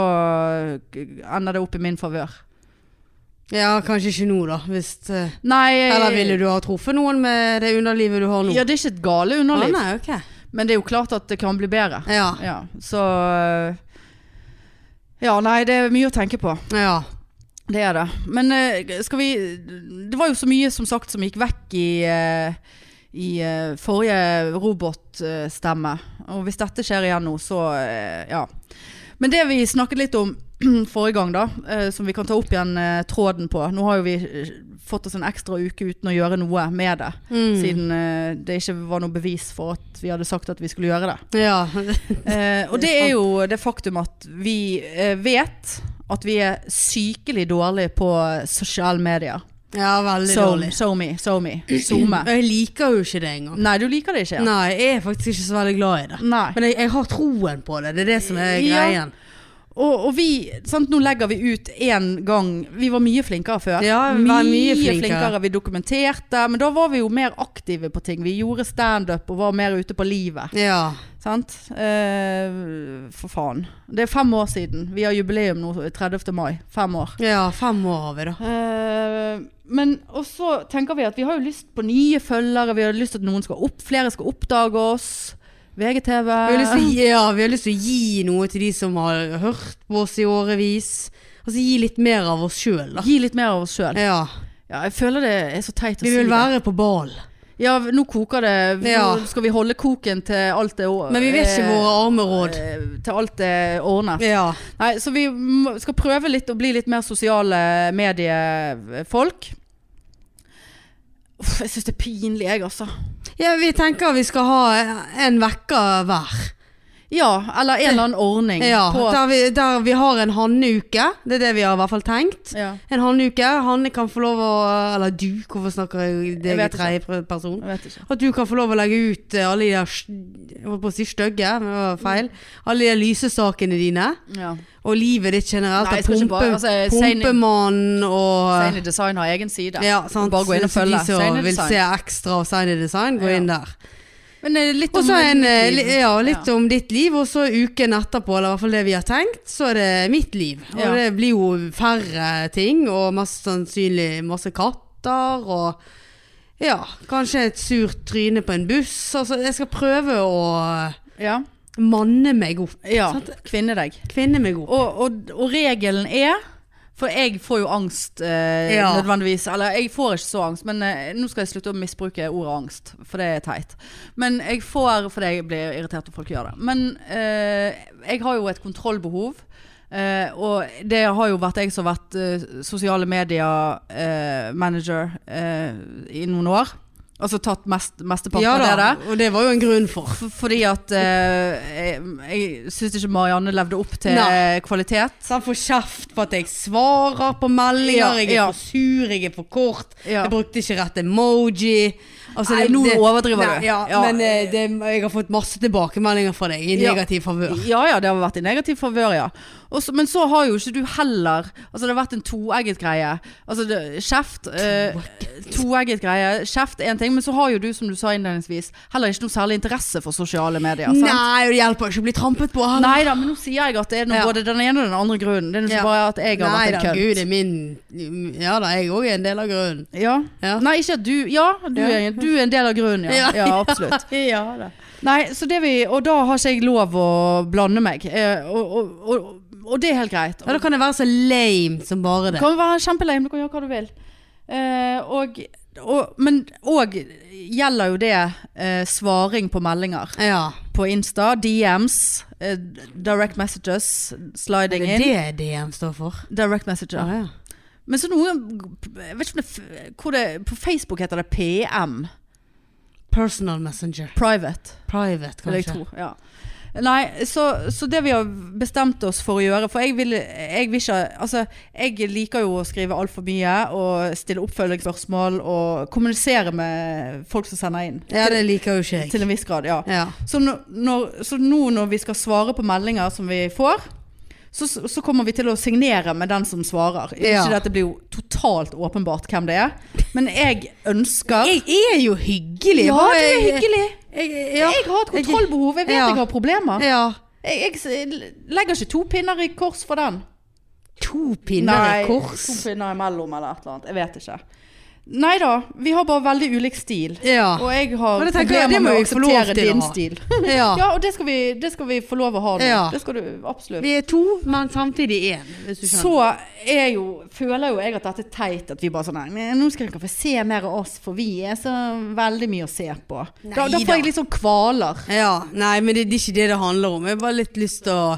Speaker 3: eh, ender det opp i min favør.
Speaker 1: Ja, kanskje ikke nå da, hvis eh,
Speaker 3: Nei
Speaker 1: Eller ville du ha truffet noen med det underlivet du har nå?
Speaker 3: Ja, det er ikke et gale
Speaker 1: Å,
Speaker 3: underliv,
Speaker 1: nei, ok.
Speaker 3: men det er jo klart at det kan bli bedre.
Speaker 1: Ja.
Speaker 3: Ja, så eh, Ja, nei, det er mye å tenke på.
Speaker 1: ja.
Speaker 3: Det er det. Men eh, skal vi Det var jo så mye som sagt som gikk vekk i eh, i eh, forrige robotstemme. Og hvis dette skjer igjen nå, så eh, ja. Men det vi snakket litt om <clears throat> forrige gang, da, eh, som vi kan ta opp igjen eh, tråden på Nå har jo vi eh, fått oss en ekstra uke uten å gjøre noe med det.
Speaker 1: Mm.
Speaker 3: Siden eh, det ikke var noe bevis for at vi hadde sagt at vi skulle gjøre det.
Speaker 1: Ja.
Speaker 3: Eh, og det er jo det faktum at vi eh, vet at vi er sykelig dårlige på sosiale medier.
Speaker 1: ja, veldig
Speaker 3: SoMe,
Speaker 1: dårlig.
Speaker 3: SoMe, SoMe, SoMe.
Speaker 1: Og Jeg liker jo ikke det engang.
Speaker 3: Nei, du liker det ikke. ja.
Speaker 1: Nei, jeg er faktisk ikke så veldig glad i det.
Speaker 3: Nei.
Speaker 1: Men jeg, jeg har troen på det. Det er det som er
Speaker 3: Ja.
Speaker 1: greien.
Speaker 3: Og, og vi, sant, nå legger vi ut én gang Vi var mye flinkere før.
Speaker 1: Ja, vi
Speaker 3: mye,
Speaker 1: var mye
Speaker 3: flinkere.
Speaker 1: flinkere.
Speaker 3: Vi dokumenterte, men da var vi jo mer aktive på ting. Vi gjorde standup og var mer ute på livet.
Speaker 1: Ja.
Speaker 3: Sant? Eh, for faen. Det er fem år siden. Vi har jubileum nå 30. mai. Fem år.
Speaker 1: ja, fem år har vi da.
Speaker 3: Eh, men og så tenker vi at vi har jo lyst på nye følgere. Vi har lyst til at noen skal opp, flere skal oppdage oss. VGTV.
Speaker 1: Vi har, lyst til, å gi- ja, vi har lyst til å gi noe til de som har hørt på oss i årevis. Altså gi litt mer av oss sjøl, da.
Speaker 3: Gi litt mer av oss sjøl.
Speaker 1: Ja.
Speaker 3: Ja, jeg føler det er så teit å
Speaker 1: Vi
Speaker 3: si
Speaker 1: vil
Speaker 3: det.
Speaker 1: være på ball.
Speaker 3: Ja, nå koker det. Nå
Speaker 1: Ja.
Speaker 3: skal vi holde koken til alt er å-
Speaker 1: Men vi vet ikke
Speaker 3: eh,
Speaker 1: våre armeråd.
Speaker 3: eh, Til alt er ordnet.
Speaker 1: Ja.
Speaker 3: Nei, så vi må- skal prøve litt å bli litt mer sosiale mediefolk. Uff, jeg syns det er pinlig, jeg, altså.
Speaker 1: ja, vi tenker vi skal ha en vekker hver.
Speaker 3: Ja, eller en eller annen ordning.
Speaker 1: Ja,
Speaker 3: på at-
Speaker 1: der vi, der vi har en hanneuke. Det er det vi har i hvert fall tenkt.
Speaker 3: ja.
Speaker 1: En hannuke. Hanne kan få lov å Eller du, hvorfor snakker jeg
Speaker 3: Jeg
Speaker 1: deg i
Speaker 3: vet
Speaker 1: tredje pre- person?
Speaker 3: Jeg vet ikke.
Speaker 1: At du kan få lov å legge ut eh, alle de der st- Jeg holdt på å si stygge, men det var feil. Alle de lysesakene dine.
Speaker 3: Ja.
Speaker 1: Og livet ditt generelt.
Speaker 3: Nei, jeg
Speaker 1: av
Speaker 3: skal ikke
Speaker 1: pumpe,
Speaker 3: bare- altså, Zaini-
Speaker 1: pumpemannen og
Speaker 3: Sane Design har egen side.
Speaker 1: ja, sant?
Speaker 3: Bare gå inn og
Speaker 1: Så
Speaker 3: følge.
Speaker 1: De
Speaker 3: Zaini
Speaker 1: som vil
Speaker 3: Design.
Speaker 1: se ekstra av Zaini Design, gå
Speaker 3: Ja.
Speaker 1: inn der.
Speaker 3: Men eh, litt
Speaker 1: Og så en, eh,
Speaker 3: mitt liv.
Speaker 1: li- ja, litt om ditt liv, og så uken etterpå, eller i hvert fall det vi har tenkt, så er det mitt liv. Og
Speaker 3: Ja.
Speaker 1: det blir jo færre ting, og mest sannsynlig masse katter, og ja, kanskje et surt tryne på en buss. Altså, jeg skal prøve å eh,
Speaker 3: Ja.
Speaker 1: manne meg opp.
Speaker 3: ja.
Speaker 1: Sant?
Speaker 3: Kvinne deg.
Speaker 1: Kvinne meg opp.
Speaker 3: Og, og, og regelen er For jeg får jo angst eh,
Speaker 1: Ja.
Speaker 3: nødvendigvis. Eller jeg får ikke så angst, men eh, nå skal jeg slutte å misbruke ordet angst, for det er teit. Men jeg får fordi jeg blir irritert når folk gjør det. Men eh, jeg har jo et kontrollbehov. eh, og det har jo vært jeg som har vært eh, sosiale medier-manager eh, i noen år. Altså tatt mest, mesteparten
Speaker 1: Ja
Speaker 3: av det
Speaker 1: da,
Speaker 3: der.
Speaker 1: og det var jo en grunn for.
Speaker 3: F- Fordi at eh, jeg, jeg syns ikke Marianne levde opp til
Speaker 1: Nei.
Speaker 3: eh, kvalitet.
Speaker 1: Så han får kjeft på at jeg svarer på meldinger,
Speaker 3: Ja,
Speaker 1: jeg er
Speaker 3: ja.
Speaker 1: for sur, jeg er for kort,
Speaker 3: Ja.
Speaker 1: jeg brukte ikke rett emoji. Altså,
Speaker 3: Nei, nå overdriver du.
Speaker 1: Ja,
Speaker 3: Ja.
Speaker 1: Men eh, det, jeg har fått masse tilbakemeldinger fra deg i
Speaker 3: Ja.
Speaker 1: negativ favør.
Speaker 3: Ja ja, det har vært i negativ favør, ja. Og så- men så har jo ikke du heller Altså det har vært en toegget greie. Altså det, kjeft eh, Toegget greie. Kjeft er en ting, men så har jo du, som du sa innledningsvis, heller ikke noe særlig interesse for sosiale medier. Sant?
Speaker 1: Nei, det hjelper ikke å bli trampet på. heller.
Speaker 3: Nei da, men nå sier jeg at det er noe,
Speaker 1: Ja.
Speaker 3: både den ene og den andre grunnen. Det er ikke
Speaker 1: Ja.
Speaker 3: bare at jeg har
Speaker 1: Nei
Speaker 3: vært
Speaker 1: da,
Speaker 3: en kødd.
Speaker 1: gud, det er min Ja da, jeg òg er en del av grunnen.
Speaker 3: Ja.
Speaker 1: Ja.
Speaker 3: Nei, ikke at du Ja, du,
Speaker 1: Ja.
Speaker 3: Er, du er en del av grunnen, ja.
Speaker 1: Ja.
Speaker 3: ja absolutt.
Speaker 1: <laughs> Ja da.
Speaker 3: Nei, så det vi, og da har ikke jeg lov å blande meg. Eh, og, og, og, og det er helt greit.
Speaker 1: Ja, da kan det være så lame som bare
Speaker 3: det
Speaker 1: det.
Speaker 3: kan være kjempelame, du kan gjøre hva du vil. Eh, og, og, men òg gjelder jo det eh, svaring på meldinger
Speaker 1: Ja.
Speaker 3: på Insta, DMs, eh, direct messages,
Speaker 1: Er
Speaker 3: sliding
Speaker 1: det
Speaker 3: in.
Speaker 1: det DM står for?
Speaker 3: Direct messager.
Speaker 1: ja.
Speaker 3: Men så noen jeg vet ikke om det, f- hvor det, På Facebook heter det PM.
Speaker 1: Personal Messenger.
Speaker 3: Private.
Speaker 1: Private,
Speaker 3: vil jeg
Speaker 1: kanskje.
Speaker 3: tro. Ja. Nei, så, så det vi har bestemt oss for å gjøre For jeg vil, jeg vil ikke Altså, jeg liker jo å skrive altfor mye og stille oppfølgingsspørsmål og kommunisere med folk som sender inn.
Speaker 1: Ja, det liker jo ikke jeg.
Speaker 3: Til en viss grad, ja.
Speaker 1: Ja.
Speaker 3: Så, nå- når, så nå når vi skal svare på meldinger som vi får, så, så kommer vi til å signere med den som svarer.
Speaker 1: Ja.
Speaker 3: Ikke dette blir jo totalt åpenbart hvem det er, men jeg ønsker
Speaker 1: Jeg er jo hyggelig.
Speaker 3: Ja,
Speaker 1: bare
Speaker 3: det er
Speaker 1: jeg-
Speaker 3: hyggelig.
Speaker 1: Jeg, ja.
Speaker 3: Jeg har et kontrollbehov. Jeg vet
Speaker 1: Ja.
Speaker 3: jeg har problemer.
Speaker 1: ja.
Speaker 3: Jeg, jeg s- legger ikke to pinner i kors for den.
Speaker 1: To pinner i kors.
Speaker 3: to pinner imellom eller et eller annet. Jeg vet ikke. Nei da, vi har bare veldig ulik stil.
Speaker 1: Ja.
Speaker 3: Og jeg har
Speaker 1: Men det tenker jeg- det
Speaker 3: problemer
Speaker 1: må
Speaker 3: med å
Speaker 1: vi få lov
Speaker 3: akseptere
Speaker 1: til å
Speaker 3: din
Speaker 1: ha.
Speaker 3: stil.
Speaker 1: ja.
Speaker 3: <laughs> Ja, og det skal, vi, det skal vi få lov å ha nå.
Speaker 1: Ja.
Speaker 3: Det skal du absolutt.
Speaker 1: Vi er to, men samtidig én. Hvis du skjønner.
Speaker 3: Så er jo, føler jo jeg at dette er teit, at vi bare sånn Nei, nå skal dere få se mer av oss, for vi er så veldig mye å se på. Da, da
Speaker 1: Neida.
Speaker 3: får jeg litt sånn kvaler.
Speaker 1: Ja, nei, men det, det er ikke det det handler om. Jeg har bare litt lyst til å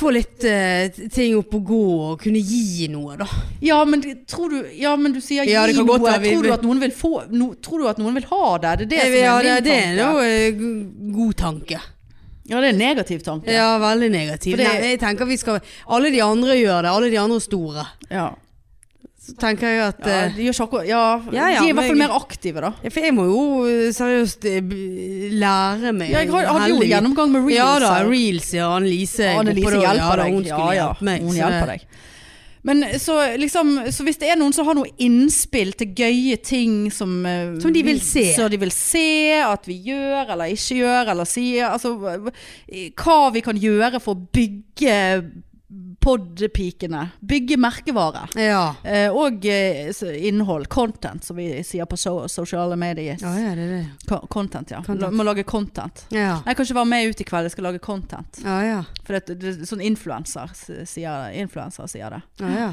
Speaker 1: få litt eh, ting opp og gå og kunne gi noe, da.
Speaker 3: Ja, men det- tror du, ja, men du sier
Speaker 1: Ja, det
Speaker 3: gi
Speaker 1: kan
Speaker 3: noe.
Speaker 1: godt være vi-
Speaker 3: tror, du at noen vil få, no, tror du at noen vil ha det? Det er det som er
Speaker 1: ja,
Speaker 3: min
Speaker 1: det, det
Speaker 3: tanke.
Speaker 1: er jo eh, g- god tanke.
Speaker 3: Ja, det er en negativ tanke.
Speaker 1: Ja, veldig negativ.
Speaker 3: For det-
Speaker 1: Nei, jeg tenker vi skal Alle de andre gjør det. Alle de andre store.
Speaker 3: Ja.
Speaker 1: Så tenker jeg at
Speaker 3: Ja,
Speaker 1: eh,
Speaker 3: de gjør ikke akkurat ja,
Speaker 1: Ja, ja,
Speaker 3: de er i hvert fall
Speaker 1: men-
Speaker 3: mer aktive, da.
Speaker 1: Ja, For jeg må jo eh, seriøst eh, b- lære meg
Speaker 3: Ja, jeg har- hadde jo
Speaker 1: heldigvis.
Speaker 3: gjennomgang med reels
Speaker 1: Ja da,
Speaker 3: her.
Speaker 1: reels, ja. Annelise
Speaker 3: Annelise
Speaker 1: Oppedal, Eh, ja,
Speaker 3: hjelper
Speaker 1: da,
Speaker 3: deg.
Speaker 1: Hun skulle hjelpe meg.
Speaker 3: Hun
Speaker 1: så det-
Speaker 3: hjelper deg. Men så, liksom, så hvis det er noen som har noe innspill til gøye ting som, eh,
Speaker 1: Som de vil
Speaker 3: vi-
Speaker 1: se.
Speaker 3: Som de vil se, at vi gjør eller ikke gjør eller sier. Altså, hva- hva vi kan gjøre for å bygge podpikene. Bygge merkevare.
Speaker 1: Ja.
Speaker 3: Eh, og eh, s- innhold. Content, som vi sier på so sosiale medier.
Speaker 1: Ja, ja, det er det.
Speaker 3: Ko- Content, ja.
Speaker 1: Content.
Speaker 3: La- Må lage content.
Speaker 1: Ja.
Speaker 3: Jeg kan ikke være med ut i kveld, jeg skal lage content.
Speaker 1: Ja, ja.
Speaker 3: For det, det, sånn influenser s- sier, det. influencer sier det.
Speaker 1: Ja, ja.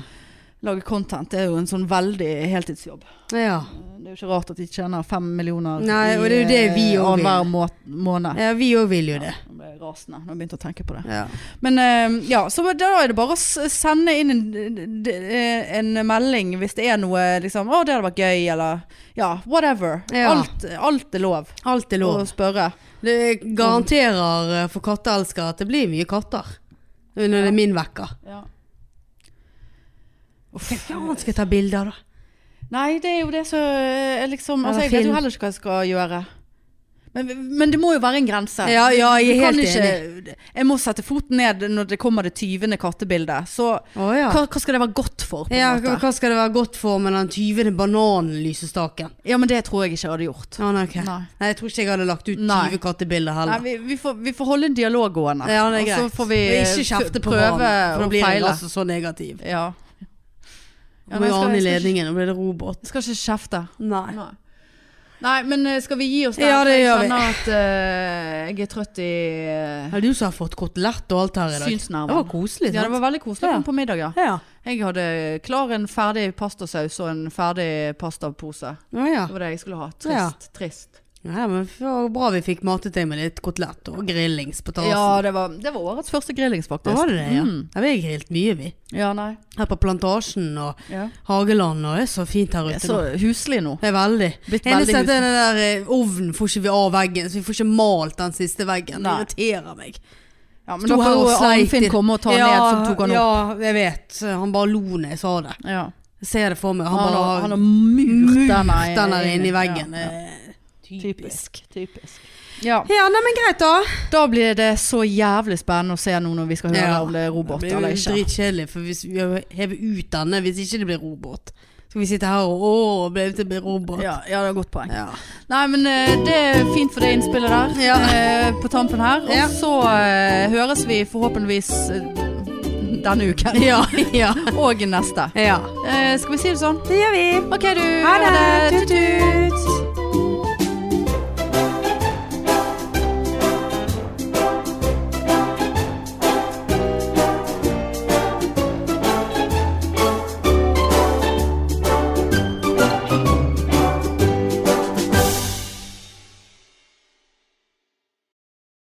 Speaker 3: Lage content det er jo en sånn veldig heltidsjobb.
Speaker 1: ja.
Speaker 3: Det er jo ikke rart at de tjener fem millioner
Speaker 1: Nei, og det er jo det vi
Speaker 3: eh,
Speaker 1: også vil.
Speaker 3: annenhver må måned.
Speaker 1: ja vi òg vil jo det.
Speaker 3: Nå ble jeg rasende når jeg begynte å tenke på det.
Speaker 1: Ja.
Speaker 3: Men eh, ja, så da er det bare å s- sende inn en, d- eh, en melding hvis det er noe liksom Å, det hadde vært gøy, eller Ja, whatever.
Speaker 1: Ja.
Speaker 3: Alt, alt er lov.
Speaker 1: Alt er
Speaker 3: Å
Speaker 1: lov.
Speaker 3: spørre.
Speaker 1: Det garanterer eh, for katteelskere at det blir mye katter. Når det er min vekker.
Speaker 3: Uff.
Speaker 1: Ja, han skal jeg ta bilder, da.
Speaker 3: Nei, det er jo det som eh, er liksom
Speaker 1: Eller
Speaker 3: altså, Jeg vet
Speaker 1: film.
Speaker 3: jo heller ikke hva jeg skal gjøre. Men, men det må jo være en grense.
Speaker 1: Ja, ja, jeg er
Speaker 3: Du kan
Speaker 1: helt
Speaker 3: ikke- Jeg må sette foten ned når det kommer det tyvende kattebildet. Så
Speaker 1: Å ja.
Speaker 3: hva, hva skal det være godt for? På en
Speaker 1: Ja, hva
Speaker 3: måte?
Speaker 1: hva skal det være godt for med den tyvende bananlysestaken?
Speaker 3: ja, men det tror jeg ikke jeg hadde gjort.
Speaker 1: Ja, nei, ok.
Speaker 3: Nei.
Speaker 1: nei, jeg tror ikke jeg hadde lagt ut
Speaker 3: Nei.
Speaker 1: 20 kattebilder
Speaker 3: Nei,
Speaker 1: heller.
Speaker 3: vi, vi, får, vi får holde en dialog gående.
Speaker 1: Ja, det er greit.
Speaker 3: og så får vi
Speaker 1: Og
Speaker 3: eh,
Speaker 1: ikke kjefte på
Speaker 3: prøve
Speaker 1: hverandre, for
Speaker 3: å
Speaker 1: da blir jeg
Speaker 3: feile.
Speaker 1: altså så negativ.
Speaker 3: Ja. Ja, nei,
Speaker 1: Ja, Med
Speaker 3: jeg skal-
Speaker 1: Arne i
Speaker 3: jeg skal ikke-
Speaker 1: ledningen, nå blir det robot.
Speaker 3: Jeg skal ikke kjefte.
Speaker 1: Nei.
Speaker 3: Nei. Nei, men eh, skal vi gi oss der?
Speaker 1: Ja, det gjør vi.
Speaker 3: Jeg kjenner at eh, jeg er trøtt i eh,
Speaker 1: Er det du som har fått kotelett og alt her i dag?
Speaker 3: Synsnerven.
Speaker 1: Det var koselig,
Speaker 3: Ja, det
Speaker 1: sant?
Speaker 3: var veldig koselig å komme på middag, ja.
Speaker 1: Ja,
Speaker 3: Jeg hadde klar en ferdig pastasaus og en ferdig pastapose.
Speaker 1: ja. ja.
Speaker 3: Det var det jeg skulle ha.
Speaker 1: Ah. Ja.
Speaker 3: Trist. Trist.
Speaker 1: Nei, men det var bra vi fikk matet deg med litt kotelett og grillings på terrassen.
Speaker 3: Ja, det var, det var årets første grillings, faktisk.
Speaker 1: det var det det, ja.
Speaker 3: Mm.
Speaker 1: Ja, vi har grillt mye, vi.
Speaker 3: Ja, nei.
Speaker 1: Her på Plantasjen og
Speaker 3: Ja.
Speaker 1: Hageland, og det er så fint her
Speaker 3: Jeg er
Speaker 1: ute.
Speaker 3: så
Speaker 1: nå.
Speaker 3: huslig nå.
Speaker 1: Det er veldig.
Speaker 3: Blitt veldig
Speaker 1: Eneste er at
Speaker 3: huslig.
Speaker 1: den der eh, ovnen får ikke vi av veggen, så vi får ikke malt den siste veggen.
Speaker 3: Nei.
Speaker 1: Det irriterer meg.
Speaker 3: Ja, men da
Speaker 1: her
Speaker 3: får
Speaker 1: og
Speaker 3: jo
Speaker 1: sleit
Speaker 3: Arnfinn
Speaker 1: i-
Speaker 3: komme og ta
Speaker 1: ja,
Speaker 3: ned, som tok han opp.
Speaker 1: Ja, jeg vet. Han bare lo når jeg sa det.
Speaker 3: Ja.
Speaker 1: Jeg ser det for meg. Han,
Speaker 3: Han,
Speaker 1: bare
Speaker 3: har, han har murt
Speaker 1: murt
Speaker 3: den her
Speaker 1: den der inne i
Speaker 3: Ja,
Speaker 1: veggen.
Speaker 3: ja.
Speaker 1: Eh,
Speaker 3: Typisk. Typisk. Ja.
Speaker 1: Ja, nei, men greit da.
Speaker 3: Da blir det så jævlig spennende å se nå når vi skal høre
Speaker 1: Ja.
Speaker 3: om det er robot
Speaker 1: Det
Speaker 3: eller
Speaker 1: blir jo
Speaker 3: ikke.
Speaker 1: dritkjedelig, for hvis vi hever ut denne hvis ikke det blir robot. Skal vi sitte her og åh, ble det blir robot?
Speaker 3: Ja, ja, det er et godt poeng.
Speaker 1: Ja.
Speaker 3: Nei, men eh, det er fint for det innspillet der
Speaker 1: Ja.
Speaker 3: eh, på tampen her. Og
Speaker 1: Ja.
Speaker 3: så eh, høres vi forhåpentligvis eh, denne uken.
Speaker 1: Ja, <laughs> ja.
Speaker 3: <laughs> Og neste.
Speaker 1: ja.
Speaker 3: Eh, skal vi si det sånn?
Speaker 1: Det gjør vi.
Speaker 3: OK, du.
Speaker 1: Ha det. Tut-tut.